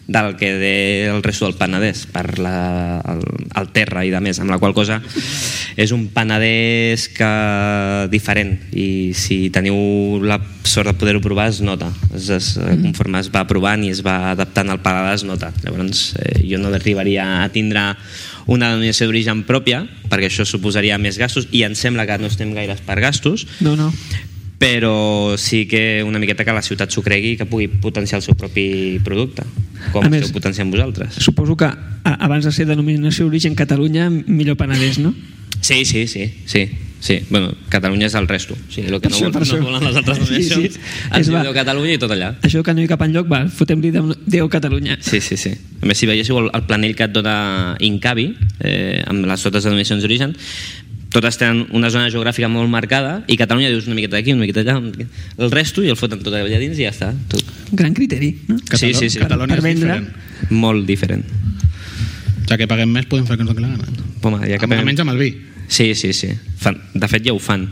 del que de el resto del Penedès per la, el, el terra i de més, amb la qual cosa és un Penedès que diferent i si teniu la sort de poder-ho provar es nota es, es,
Mm.
conforme es va provant i es va adaptant al paladar es nota llavors eh, jo no arribaria a tindre una denominació d'origen pròpia, perquè això suposaria més gastos, i em sembla que no estem gaire per gastos,
No, no.
però sí que una miqueta que la ciutat s'ho cregui i que pugui potenciar el seu propi producte, com
A
a
més-
esteu potenciant vosaltres.
Suposo que a, abans de ser denominació d'origen Catalunya, millor penedès, no?
Sí, sí, sí, sí. Sí, bueno, Catalunya és el resto. O sigui, el que
Per
no,
això,
vol,
per
no
això.
volen les altres
Sí, sí.
denominacions, sí, sí. ens
És va-
diu Catalunya i tot allà.
Això que no hi cap enlloc, va, fotem-li 10, 10 Catalunya.
Sí, sí, sí. A més, si veiéssiu el, el planell que et dona Incavi, eh, amb les totes denominacions d'origen, totes tenen una zona geogràfica molt marcada i Catalunya dius una miqueta d'aquí, una miqueta d'allà, una miqueta- el resto i el foten tot allà dins i ja està. Tot.
Gran criteri, no?
Sí, sí, sí.
Catalunya és
Per vendre.
diferent.
Molt diferent.
Ja que paguem més, podem fer el que ens doni la gana.
Home, ja
Ja
que
que Almenys amb el vi.
Sí, sí, sí. Fan, de fet, ja ho fan.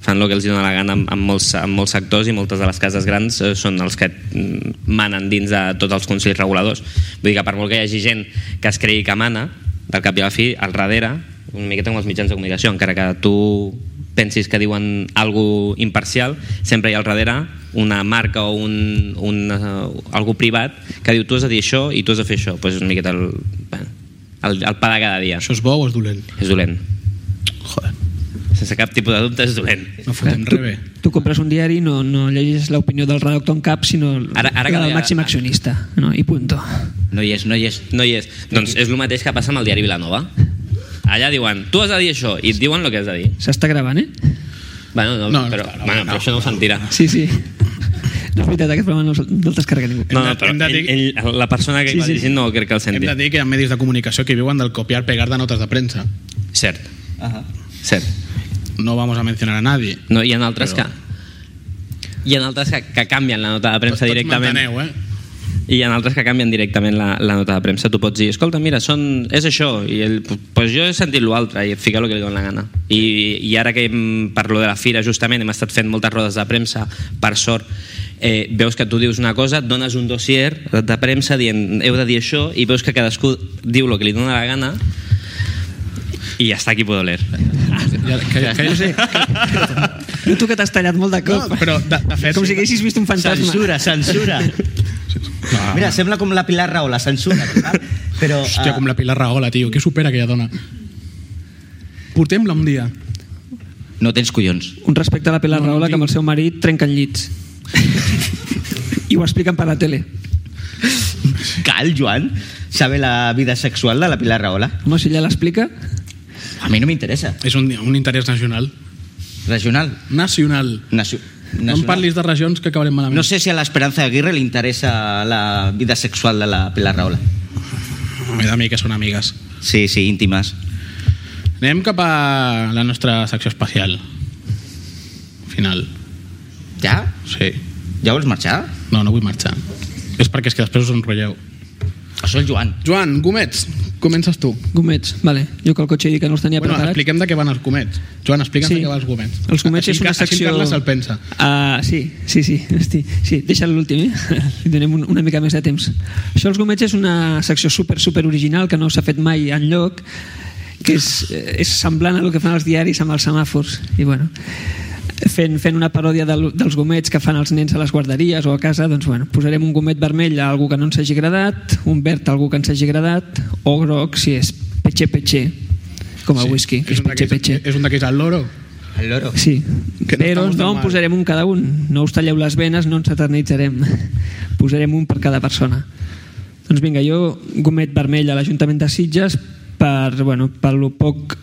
Fan el que els dona la gana amb, amb, molts, amb molts sectors i moltes de les cases grans eh, són els que mm, manen dins de tots els consells reguladors. Vull dir que per molt que hi hagi gent que es cregui que mana, del cap i a la fi, al darrere, una miqueta amb els mitjans de comunicació, encara que tu pensis que diuen algo imparcial, sempre hi ha al darrere una marca o un, un, uh, algú privat que diu tu has de dir això i tu has de fer això. Pues és una miqueta el, bueno, el, el pa de cada dia.
Això és bo o és dolent?
És dolent.
Joder,
Sense cap tipus de dubte és dolent.
no fotem
tu,
res bé.
tu compres un diari, no, no llegis l'opinió del redactor en cap, sinó ara,
Ara- ara
ara
que
la del
deia-
màxim accionista. No, I punto.
No hi és, no hi és.
No hi és. Doncs és el mateix que passa amb el diari Vilanova. Allà diuen, tu has de dir això, i et diuen el que has de dir.
S'està gravant, eh?
Bueno, no,
No, no,
però,
no, no,
bueno, però
no.
això no ho sentirà.
Sí, sí. No és veritat, aquest programa no, el- no el descarrega ningú.
No,
Hem
no,
de-
però
hem de
ell,
dir-
ell, la persona que
Sí,
sí, va
sí.
llegint no crec que el
Hem
senti.
de dir que hi ha medis de comunicació que viuen del copiar-pegar de notes de premsa.
Cert,
Ah,
cert.
No vamos a mencionar a nadie.
No, hi ha altres
Però-
però... que hi ha altres que, que canvien la nota de premsa
Tots
directament.
m'enteneu, eh?
I hi ha altres que canvien directament la, la nota de premsa. Tu pots dir, escolta, mira, són, és això, i ell, pues jo he sentit l'altre, i fica el que li dona la gana. I, I ara que hem, per lo de la fira, justament, hem estat fent moltes rodes de premsa, per sort, eh, veus que tu dius una cosa, et dones un dossier de premsa dient, heu de dir això, i veus que cadascú diu el que li dona la gana, i ja està aquí puedo leer.
Ja, que, que, que,
No tu que t'has tallat molt de cop.
no, però de, de fet...
Com si haguessis vist un fantasma.
Censura, censura.
No,
Mira, sembla com la Pilar Rahola, censura. total. Però,
Hòstia,
ah,
com la Pilar Rahola, tio. Què supera aquella dona? Portem-la un dia.
No tens collons.
Un respecte a la Pilar Rahola, que amb el seu marit trenquen llits. I ho expliquen per la tele.
Cal, Joan, eh, sabe la vida sexual de la Pilar Rahola?
Home, si ella l'explica...
A mi no m'interessa.
És un, un interès nacional.
Regional.
Nacional.
Nacio
No
nacional.
em parlis de regions que acabarem malament.
No sé si a l'Esperanza Aguirre li interessa la vida sexual de la Pilar Rahola.
Me da a mi que són amigues.
Sí, sí, íntimes.
Anem cap a la nostra secció espacial. Final.
Ja?
Sí.
Ja vols marxar?
No, no vull marxar. És perquè és que després us enrotlleu.
Això el Joan.
Joan, gomets, Comences tu.
Gomets, vale. Jo que el cotxe i que no els tenia
Bueno,
preparats.
expliquem de què van els comets. Joan, explica'ns
Sí.
de què van els comets.
Els comets
Així
és una
que-
secció...
Així en Carles se'l pensa.
Ah, sí, sí, sí, hosti, sí. Deixa'l l'últim, eh? Li donem un, una mica més de temps. Això, els comets, és una secció super, super original que no s'ha fet mai en lloc, que és, eh, és semblant a el que fan els diaris amb els semàfors. I, bueno, fent, fent una paròdia del, dels gomets que fan els nens a les guarderies o a casa, doncs, bueno, posarem un gomet vermell a algú que no ens hagi agradat, un verd a algú que ens hagi agradat, o groc si és petxer petxer, com a sí, whisky, que
és,
és
un
petxer
d'aquests-
petxer.
és un d'aquests al loro.
El loro.
Sí,
Que
que
no
però
estamos tan
no, en
mal.
posarem un cada un. No us talleu les venes, no ens eternitzarem. Posarem un per cada persona. Doncs vinga, jo gomet vermell a l'Ajuntament de Sitges per, bueno, per lo poc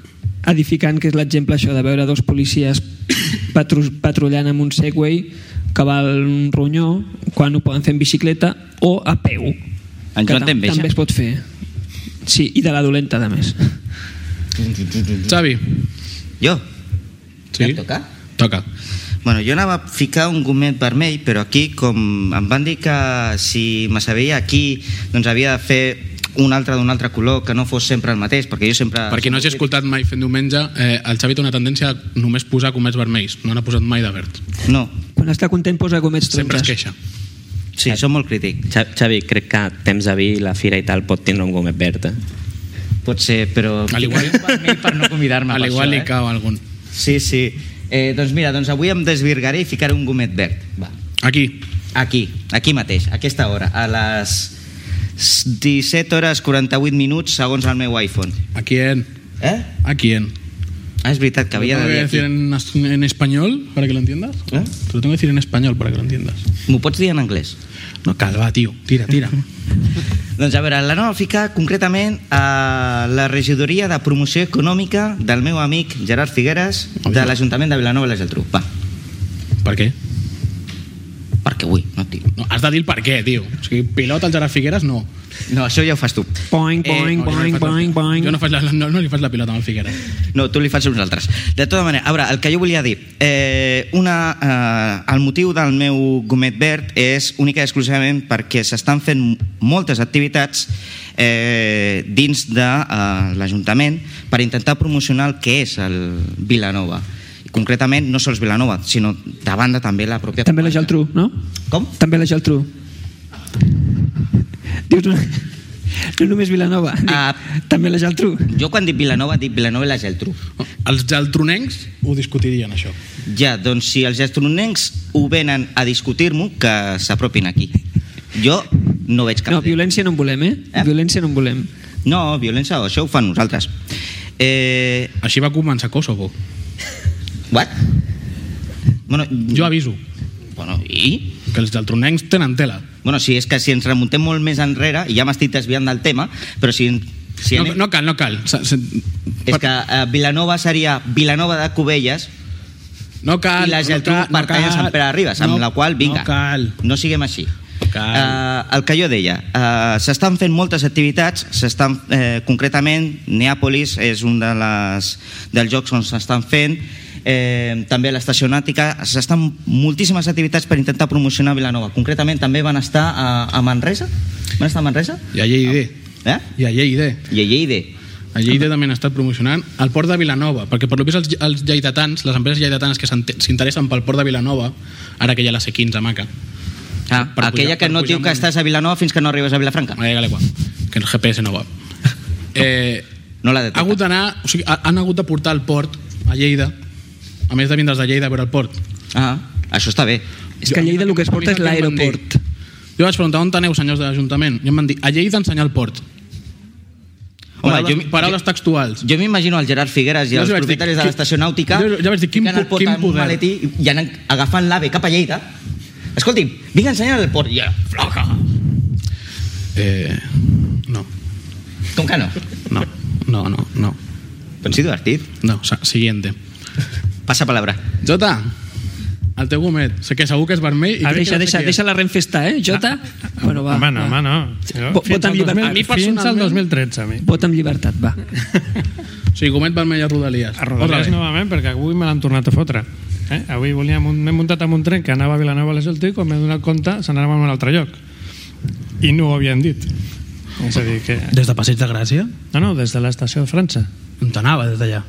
edificant que és l'exemple això de veure dos policies patru patrullant amb un Segway que val un ronyó quan ho poden fer en bicicleta o a peu.
En
que
Joan
tam-
t'enveja.
També es pot fer. Sí, i de la dolenta, a més.
Xavi.
Jo?
Sí.
Em toca?
Toca.
Bueno, jo anava a ficar un gomet vermell, però aquí, com em van dir que si me sabia aquí, doncs havia de fer un altre d'un altre color, que no fos sempre el mateix, perquè jo sempre...
Per qui no hagi escoltat mai fent diumenge, eh, el Xavi té una tendència a només posar comets vermells. No n'ha posat mai de verd.
No,
Quan està content posa gomets
Sempre es
taronges.
queixa.
sí, som molt crític.
Xa- Xavi, crec que temps a vi, la fira i tal pot tindre un gomet verd, eh?
Pot ser, però...
Al igual-
vermell per no convidar-me
A
per
l'igual
això,
li cau algun.
eh? Sí, sí. Eh, doncs mira, doncs avui em desvirgaré i ficaré un gomet verd. Va.
Aquí.
Aquí, aquí mateix, a aquesta hora, a les 17 hores 48 minuts, segons el meu iPhone.
¿A quién?
Eh?
¿A quién?
Ah, és veritat que havia
¿Lo tengo
de
que decir
dir aquí.
en, as- en español para que lo entiendas?
¿Eh?
Te lo tengo que decir en español para que lo entiendas.
M'ho pots dir en anglès?
No, calva, tío. Tira, tira.
Doncs a veure, l'anava a ficar concretament a la regidoria de promoció econòmica del meu amic Gerard Figueres de l'Ajuntament de Vilanova i la Geltrú. Va,
¿Para qué?
perquè avui, no, tio.
No, has de dir el per què, tio. O sigui, pilota el Gerard Figueres, no.
No, això ja ho fas tu.
Boing,
Eh,
boing,
No, jo no li
boing,
faig la-
boing, boing.
Jo no, faig la, no, no li faig la pilota al Figueres.
No, tu li fas a nosaltres. De tota manera, a veure, el que jo volia dir, eh, una, eh, el motiu del meu gomet verd és única i exclusivament perquè s'estan fent moltes activitats eh, dins de eh, l'Ajuntament per intentar promocionar el que és el Vilanova. I concretament, no sols Vilanova, sinó de banda també la pròpia...
També la Geltrú, no?
Com?
També la Geltrú. Dius una... No només Vilanova, dic,
Ah.
també la Geltrú.
Jo quan dic Vilanova, dic Vilanova i la Geltrú.
Els geltronencs ho discutirien, això.
Ja, doncs si els gastronencs ho venen a discutir-m'ho, que s'apropin aquí. Jo no veig cap...
No, violència no en volem, eh?
Eh?
Violència no en volem.
No, violència, això ho fan nosaltres. Eh,
Així va començar Kosovo.
what? Bueno,
Jo aviso
Bueno, i?
que els geltronencs tenen tela.
Bueno, si és que si ens remuntem molt més enrere, i ja m'estic desviant del tema, però si... si
no, no cal, no cal. Se, se,
eh? És que eh, Vilanova seria Vilanova de Cubelles
no cal,
i la Geltrú
no cal, no
pertany a Sant Pere de Ribes, amb
no,
la qual, vinga,
No cal.
no siguem així.
Cal.
Eh, el que jo deia, eh, s'estan fent moltes activitats, s'estan, eh, concretament, Neàpolis és un de les, dels jocs on s'estan fent, eh, també a l'estació nàutica, s'estan moltíssimes activitats per intentar promocionar Vilanova. Concretament també van estar a, a Manresa, van estar a Manresa,
I a Lleida.
eh?
I a Lleida.
i a Lleida.
A Lleida també han estat promocionant el port de Vilanova, perquè per lo vist els, els lleidatans, les empreses lleidatanes que s'ente- s'interessen pel port de Vilanova, ara que hi ha la C15 a Maca,
Ah,
Per pujar-
aquella que
per
no
pujar
diu que
amunt.
estàs a Vilanova fins que no arribes a Vilafranca.
Maria Galegua, que el GPS no va. Eh,
No la
ha hagut
detecta.
d'anar, o sigui, ha- han hagut de portar el port a Lleida, a més de vindre's de Lleida a veure el port.
Ah, això està bé.
És que a
Jo-
Lleida el que es
a mi
porta és
sap què em van dir.
l'aeroport.
Jo vaig preguntar on aneu, senyors de l'Ajuntament, i em van dir, a Lleida ensenyar el port.
Home,
paraules,
jo-
paraules textuals.
Jo m'imagino el Gerard Figueres i
Jo
els
els vaig dir,
propietaris de
qui-
l'estació nàutica
jo- jo vaig dir, quin
ficant el
po-
pot
quin
en un
poder.
maletí i- i anant agafant l'AVE cap a Lleida. Escolti, vinc a ensenyar el port. I ara, floja.
Eh, no,
Com que no?
no, no, no, no.
Doncs sí, divertit.
No, sa- siguiente.
Passa palabra.
Jota, el teu gomet, sé que segur que és vermell i
A
crec
Ah, deixa,
que no sé
deixa,
qui és.
deixa la renfestar, eh, Jota? Bueno, va.
home, no, home, no. Jo-
Vot
Fins
amb
al
llibertat.
2000,
A mi
Fins al
personalment-
2013, a mi.
Vot amb llibertat, va.
O sigui, gomet vermell a Rodalies.
A Rodalies
Otra vez.
novament, perquè avui me l'han tornat a fotre. Eh? Avui volíem un- m'he muntat en un tren que anava a Vilanova a la Geltrú i quan m'he donat compte se n'anava a un altre lloc. I no ho havien dit. És a dir, que...
Des de Passeig de Gràcia?
No, no, des de l'estació de França.
On t'anava des d'allà?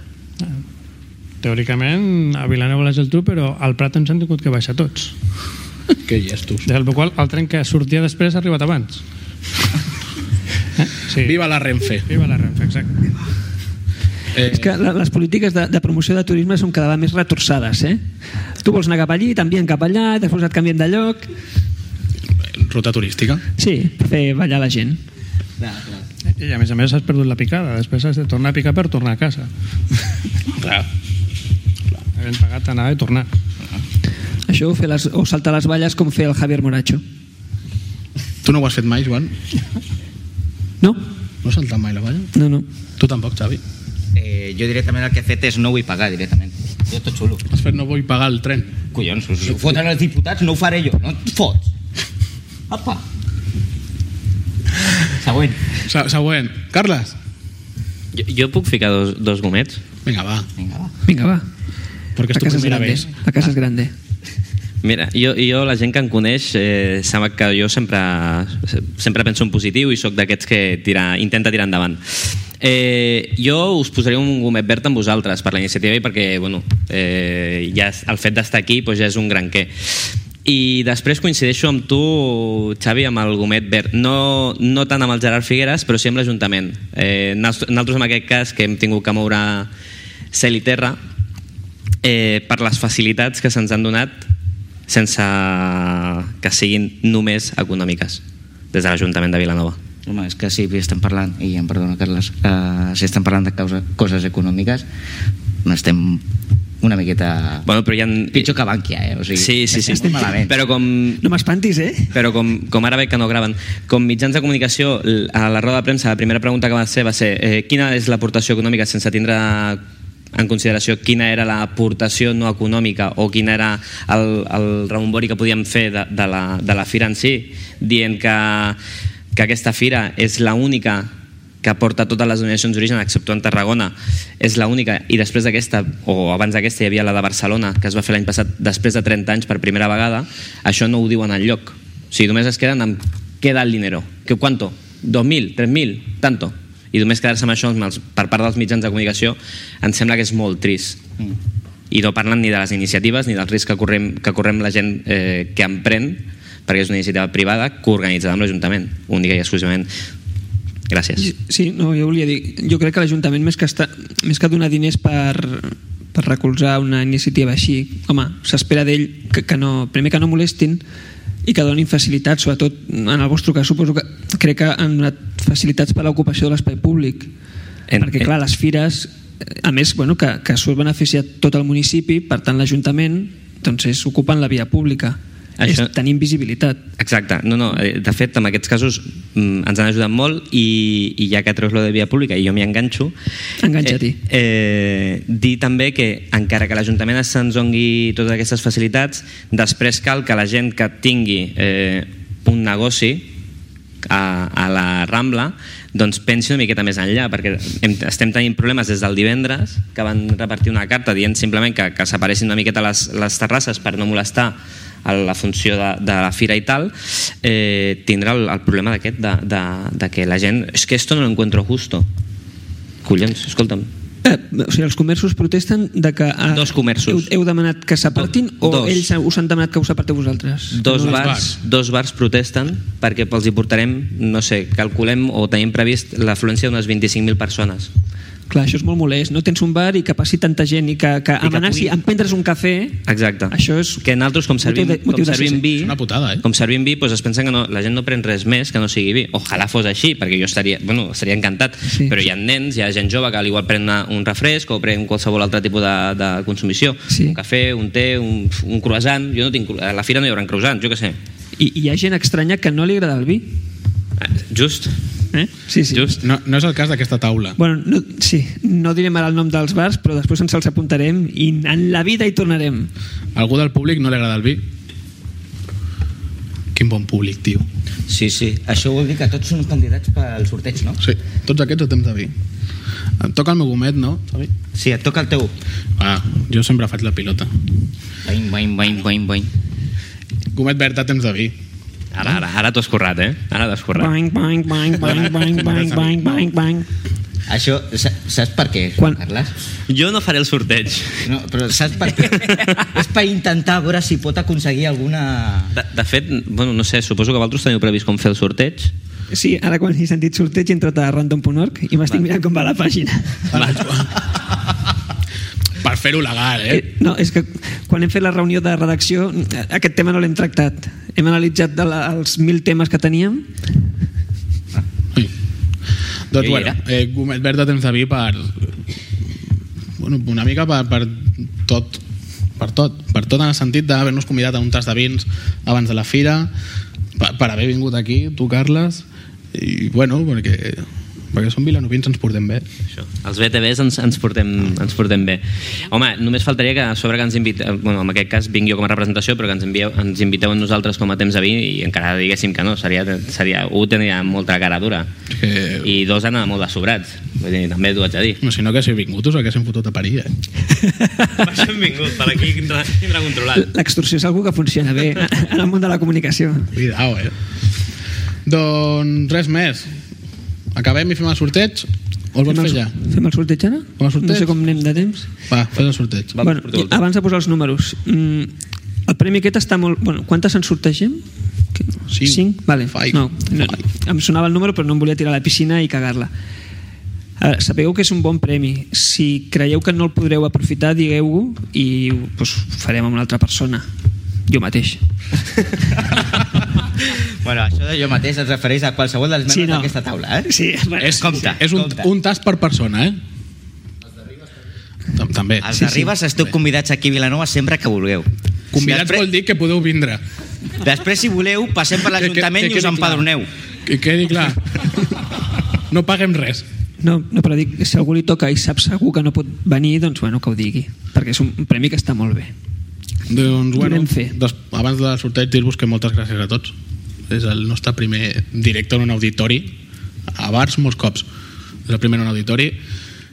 Teòricament, a Vilanova i la Geltrú, però al Prat ens han tingut que baixar tots.
Que gestos.
Des del qual el tren que sortia després ha arribat abans. Eh? Sí.
Viva la Renfe.
Viva la Renfe, exacte.
Eh,
És que la- les polítiques de, de promoció de turisme són cada vegada més retorçades, eh? Tu vols anar cap allí, t'envien cap allà, després et canvien de lloc...
Eh, Ruta turística.
Sí, per fer ballar la gent.
I a més a més has perdut la picada. Després has de tornar a picar per tornar a casa.
Clar.
Havent pagat anar i tornar.
Això o, fer les, o saltar les valles com fer el Javier Moracho.
Tu no ho has fet mai, Joan?
No?
No has saltat mai la valla?
No, no.
Tu tampoc, Xavi.
Eh, jo directament el que he fet és no vull pagar directament. Jo tot xulo.
Has fet no vull pagar el tren.
Collons, us ho foten els diputats, no ho faré jo. No et fots. Apa. Següent.
Se- Següent. Carles?
Jo, jo puc ficar dos, dos gomets?
Vinga, va.
Vinga, va.
Vinga, va.
Perquè
La
és tu
casa és
primera
grande.
vez.
La casa és grande.
Mira, jo, jo la gent que em coneix eh, sap que jo sempre, sempre penso en positiu i sóc d'aquests que tira, intenta tirar endavant. Eh, jo us posaré un gomet verd amb vosaltres per la iniciativa i perquè bueno, eh, ja és- el fet d'estar aquí doncs ja és un gran què. I després coincideixo amb tu, Xavi, amb el gomet verd. No, no tant amb el Gerard Figueres, però sí amb l'Ajuntament. Eh, nos- nosaltres, en aquest cas, que hem tingut que moure cel i terra, eh, per les facilitats que se'ns han donat sense que siguin només econòmiques des de l'Ajuntament de Vilanova.
Home, és que si estem parlant, i em perdona, Carles, eh, si estem parlant de causa, coses econòmiques, estem una miqueta...
Bueno, però hi ha...
Pitjor que Bankia, eh? O sigui,
Sí, sí, sí.
estem molt malament.
Però com,
No m'espantis, eh?
però com, com ara veig que no graven, com mitjans de comunicació, l- a la roda de premsa, la primera pregunta que va ser va ser eh, quina és l'aportació econòmica sense tindre en consideració quina era l'aportació no econòmica o quin era el, el rebombori que podíem fer de, de, la, de la fira en si, dient que, que aquesta fira és l'única que aporta totes les donacions d'origen, excepte en Tarragona, és l'única. I després d'aquesta, o abans d'aquesta, hi havia la de Barcelona, que es va fer l'any passat, després de 30 anys per primera vegada. Això no ho diuen en lloc. O sigui, només es queden amb què da el dinero. Que quanto? 2.000, 3.000, tanto. I només quedar-se amb això amb els, per part dels mitjans de comunicació em sembla que és molt trist. I no parlen ni de les iniciatives ni del risc que correm, que correm la gent eh, que emprèn, perquè és una iniciativa privada coorganitzada amb l'Ajuntament, única i exclusivament. Gràcies.
Sí, no, jo volia dir... Jo crec que l'Ajuntament, més, que està, més que donar diners per, per recolzar una iniciativa així, home, s'espera d'ell que, que no, primer que no molestin i que donin facilitats, sobretot en el vostre cas suposo que crec que han donat facilitats per a l'ocupació de l'espai públic
En-
en, perquè clar, les fires eh, a més, bueno, que, que surt beneficiat tot el municipi, per tant l'Ajuntament doncs és, ocupen la via pública
Això-
Això... és tenir visibilitat
Exacte, no, no, eh, de fet en aquests casos mm, ens han ajudat molt i, i ja que treus lo de via pública i jo m'hi enganxo
Enganxa-t'hi.
eh, eh, dir també que encara que l'Ajuntament se'ns doni totes aquestes facilitats després cal que la gent que tingui eh, un negoci a, a la Rambla doncs pensi una miqueta més enllà perquè hem, estem tenint problemes des del divendres que van repartir una carta dient simplement que, que separessin una miqueta les, les terrasses per no molestar a la funció de, de la fira i tal eh, tindrà el, el problema d'aquest de, de, de que la gent és que esto no lo encuentro justo collons, escolta'm
Eh, o sigui, els comerços protesten de que eh,
Dos comerços.
heu, heu demanat que s'apartin
Do-
o
dos.
ells us han demanat que us aparteu vosaltres
dos
No, els
bars, dos bars protesten perquè els hi portarem, no sé, calculem o tenim previst l'afluència d'unes 25.000 persones
clar, això és molt molest, no tens un bar i que passi tanta gent i que, que
que
amenaci
pugui-
a prendre's un cafè
Exacte.
Això és
que nosaltres com servim,
motiu de- motiu
com
de
servim
cese.
vi,
És una putada, eh?
Com servim vi, doncs es pensen que no, la gent no pren res més que no sigui vi. Ojalà fos així, perquè jo estaria, bueno, estaria encantat,
Sí.
sí. però hi ha nens, hi ha gent jove que al igual pren una, un refresc o pren qualsevol altre tipus de, de consumició,
Sí.
un cafè, un té, un, un croissant, jo no tinc, cro- a la fira no hi haurà croissants, jo què sé.
I, i hi ha gent estranya que no li agrada el vi
Eh, Just,
eh? sí, sí.
just.
No, no és el cas d'aquesta taula.
Bueno, no, sí, no direm ara el nom dels bars però després ens els apuntarem i en la vida hi tornarem
Algú del públic no li agrada el vi? Quin bon públic, tio.
Sí, sí. Això vol dir que tots són candidats pel sorteig, no?
Sí, tots aquests a temps de vi. Em toca el meu gomet, no? Xavi?
Sí, et toca el teu.
Ah, jo sempre faig la pilota.
Boing, boing, boing, boing, boing.
Gomet verd a temps de vi.
Ara, ara, ara t'ho has currat, eh? Ara t'ho has currat.
Bang, bang, bang, bang, bang, bang, bang, bang, bang.
Això, sa- saps per què,
Quan-
Carles?
Jo no faré el sorteig.
No, però saps per què? És per intentar veure si pot aconseguir alguna...
De, de fet, bueno, no sé, suposo que vosaltres teniu previst com fer el sorteig.
Sí, ara quan he sentit sorteig he entrat a random.org i m'estic mirant com va la pàgina.
Per fer-ho legal, eh?
Eh, No, és que quan hem fet la reunió de redacció eh, aquest tema no l'hem tractat. Hem analitzat de la, els mil temes que teníem.
Sí. Doncs,
Jo hi
bueno,
era.
eh, Gomet Verd tens de vi per... Bueno, una mica per, per tot per tot, per tot en el sentit d'haver-nos convidat a un tas de vins abans de la fira per, per haver vingut aquí, tu Carles i bueno, perquè perquè som vilanovins ens portem bé
Això. Els BTBs ens, ens, portem, ens portem bé. Home, només faltaria que a sobre que ens inviteu, bueno, en aquest cas vinc jo com a representació, però que ens, envieu, ens inviteu a nosaltres com a temps a vi i encara diguéssim que no, seria, seria un tenia molta cara dura
És que, I...
i dos anava molt de sobrats, vull dir, també t'ho haig de dir.
no, si no que si vingut us haguéssim fotut a parir eh?
M'has vingut, per aquí tindrà, tindrà
Ah.
controlat.
L'extorsió és algú que funciona bé en el món de la comunicació.
Cuidao, eh? Doncs res més. Acabem i fem el sorteig? O el vols
el,
fer ja?
fem el sorteig ara?
Fem el sorteig.
No sé com anem de temps.
Va, fes el sorteig.
Va,
bueno,
porteu el
i abans de posar els números, mm, el premi aquest està molt... Bueno, quantes en sortegem? Que-
Cinc.
Cinc? Vale.
Five.
No, no, em sonava el número però no em volia tirar a la piscina i cagar-la. A veure, Sapigueu que és un bon premi. Si creieu que no el podreu aprofitar, digueu-ho i pues, ho farem amb una altra persona. Jo mateix.
Bueno, això de jo mateix es refereix a qualsevol dels membres
Sí,
sí,
no.
no. d'aquesta taula, eh?
Sí,
És,
Compte,
és un,
compte.
un tas per persona, eh? Tam- També.
Els sí, d'Arribes sí. esteu convidats aquí a Vilanova sempre que vulgueu.
Convidats
Després-
vol dir que podeu vindre.
Després, si voleu, passem per l'Ajuntament
Que- que-
i
que quedi
us
clar.
empadroneu.
Que quedi clar. No paguem res.
No, no, però dic, si algú li toca i sap segur que no pot venir, doncs bueno, que ho digui. Perquè és un premi que està molt bé.
Doncs, bueno,
Podem fer.
des, abans del sorteig dir-vos que moltes gràcies a tots. És el nostre primer directe en un auditori, a bars molts cops. És el primer en un auditori.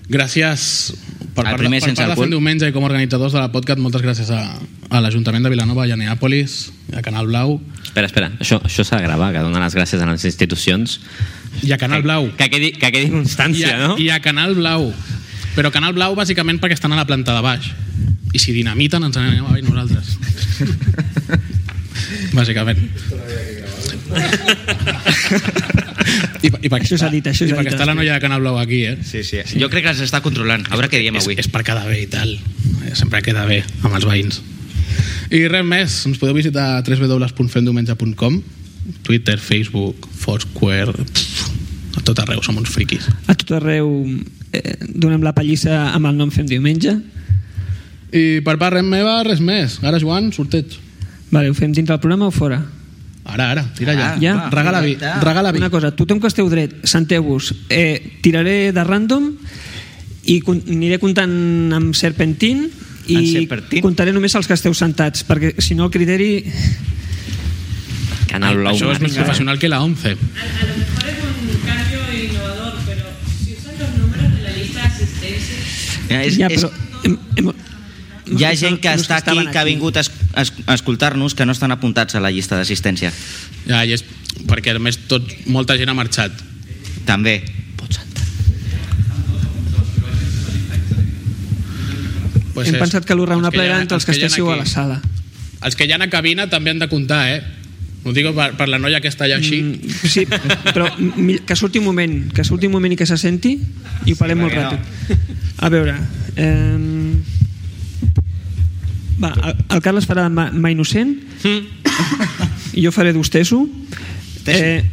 Gràcies per
El
part,
primer
de, per
sense
part de
alcohol.
Fent Diumenge i com a organitzadors de la podcast, moltes gràcies a, a l'Ajuntament de Vilanova i a Neàpolis, a Canal Blau
Espera, espera, això, això s'ha de gravar, que donar les gràcies a les institucions.
i a Canal Blau.
Que quedi, que quedi
I
constància,
a,
no?
I a Canal Blau. Però Canal Blau bàsicament perquè estan a la planta de baix. I si dinamiten ens n'anem a veure nosaltres. bàsicament. I, pa- i perquè
Això s'ha dit, això
i
s'ha
perquè
dit.
està la noia de Canal Blau aquí, eh?
Sí, sí, sí. Jo crec que ens està controlant. A veure què diem
És,
avui.
és per quedar bé i tal. Eh, Sempre queda bé amb els veïns. I res més, ens podeu visitar a www.femdiumenge.com Twitter, Facebook, Foursquare... Pff, a tot arreu, som uns friquis.
A tot arreu eh, donem la pallissa amb el nom Fem Diumenge.
I per part res meva, res més. Ara, Joan, sorteig.
Vale, ho fem dintre del programa o fora?
Ara, ara, tira ja.
Ara,
Ah, ja.
va,
regala vi,
ja.
regala vi.
Una cosa, tothom que esteu dret, senteu-vos. Eh, tiraré de random i con- aniré comptant amb serpentín
En
i
serpentín?
comptaré només els que esteu sentats perquè si no el criteri
Canal Blau. eh.
Això és més
Marca.
professional que la
A,
11.
a lo mejor es un cambio innovador, pero si usan los números de la lista de asistencia,
Ja, és,
ja,
és,
però, hem, hem,
hi ha gent que
els
està aquí,
estaven
que ha vingut a, es, a es- a escoltar-nos, que no estan apuntats a la llista d'assistència.
Ja, i és perquè a més tot, molta gent ha marxat.
També.
Pues
hem
és-
pensat que el
Doncs
raonable era entre els que,
hi ha
estéssiu a
aquí.
la sala
Els que hi ha a cabina també han de comptar, eh? Ho dic per, per la noia que està allà així. Mm.
Mm, sí, però mi- que surti un moment que surti un moment i que se senti i ho parlem sí, molt
perquè no.
ràpid a veure eh, va, el, el Carles farà de mà, mà innocent
Mm.
i jo faré d'hostesso eh,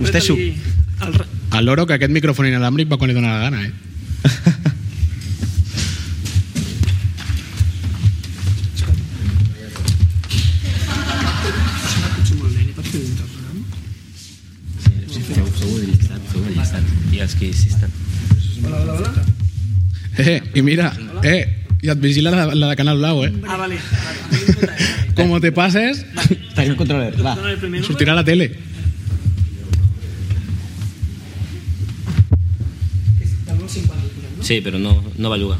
Hostesso.
apreta-li el ra-
El loro que aquest micròfon inalàmbric va quan li dóna la gana, eh?
I els que assisten.
Eh, i mira, eh, i et vigila la, la de Canal Blau, eh?
ah, vale
Como te pases,
Tenim controler, va.
Dona el primer número.
sortirà a la tele.
Sí, però no, no va jugar.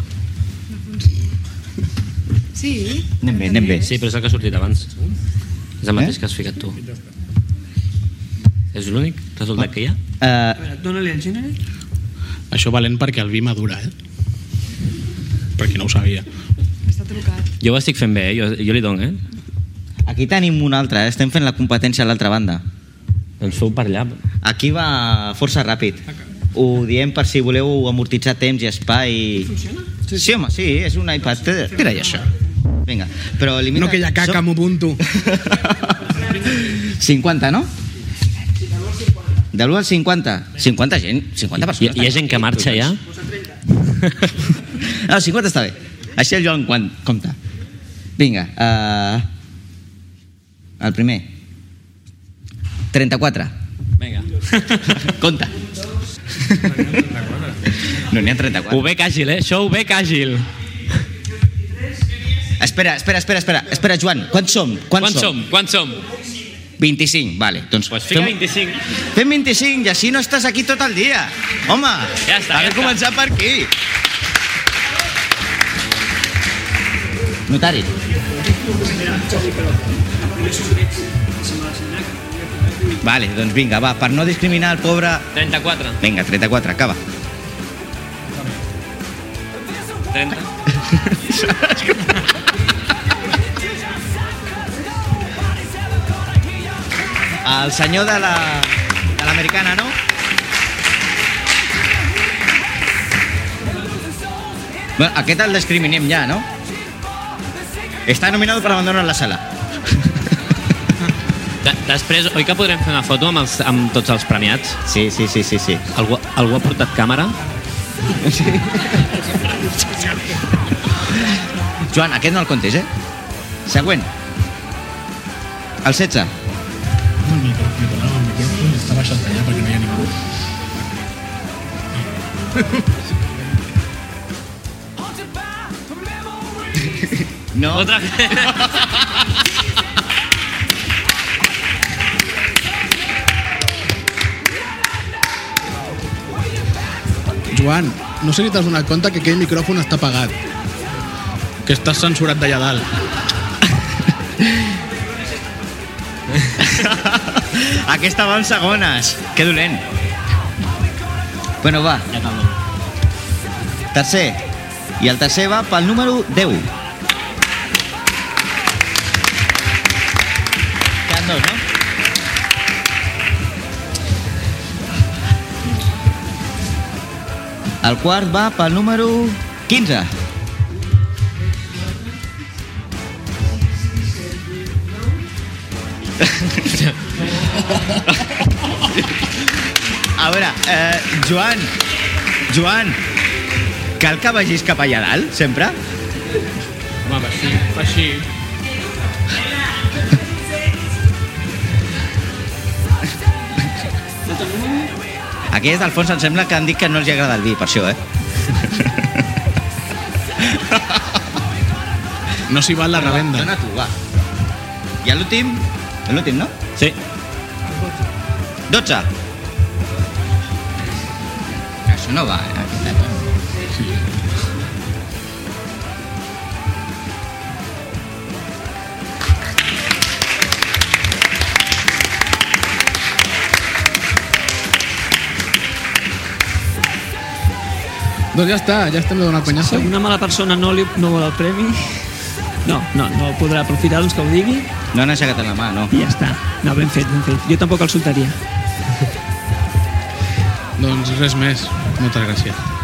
Anem bé, anem bé.
Sí, però és el que ha sortit abans. És el mateix
Eh?
que has ficat tu. És l'únic resultat que hi ha?
Eh,
Dóna-li el gènere.
Això valent perquè el vi madura, eh? Perquè no ho sabia.
Està trucat.
Jo ho estic fent bé, eh? jo, jo li dono, eh?
aquí tenim un altre, eh? estem fent la competència a l'altra banda.
Doncs feu per allà.
Aquí va força ràpid. Ho diem per si voleu amortitzar temps i espai. Funciona? Sí, sí home, sí, és un iPad. Tira-hi això. Vinga, però elimina...
No que hi ha caca, m'ho punto.
50, no? De l'1 al 50. 50 gent, 50
Hi,
persones.
hi ha gent que marxa ja?
No, 50 Ah, està bé. Així el Joan quan compta. Vinga, uh, el primer. 34.
Vinga.
Compte. No n'hi ha 34.
Ho bec àgil, eh? Això ho bec àgil.
Espera, espera, espera, espera, espera, Joan. Quants som? Quants,
Quants som? Quants som?
25, vale. Doncs
Pues fica 25.
Fem 25 i així no estàs aquí tot el dia. Home,
Ja està,
ha de
ja està.
començar per aquí. Notari. Vale, doncs vinga, va, per no discriminar el pobre...
34.
Vinga, 34, acaba.
30.
El senyor de la... de l'americana, no? Bueno, aquest el discriminem ja, no? Està nominado per abandonar la sala.
De després, oi que podrem fer una foto amb, els, amb tots els premiats?
Sí, sí, sí, sí, sí.
Algú, algú ha portat càmera?
Joan, aquest no el comptes, eh? Següent. El 16.
El micro, el micro, no, el micro està baixat d'allà perquè no hi ha ningú.
No.
Otra vez.
Joan, no sé si t'has donat compte que aquell micròfon està apagat. Que estàs censurat d'allà dalt.
Aquesta va en segones. Que dolent. Bueno, va. Tercer. I el tercer va pel número 10. Queden dos, no? El quart va pel número 15. A veure, eh, Joan, Joan, cal que vagis cap allà dalt, sempre?
Home, va així, va així.
Aquells del fons em sembla que han dit que no els hi agrada el vi, per això, eh?
No s'hi val la revenda.
Dona tu, va. I a l'últim? A l'últim, no?
Sí.
12. Això no va, eh?
Doncs ja està, ja estem de donar
Si
penyassa.
una mala persona no, li, no vol el premi, no, no, no el podrà aprofitar, doncs que ho digui
No han aixecat la mà, no.
i ja està. No, ben fet, ben fet. Jo tampoc el soltaria.
Doncs res més. Moltes gràcies.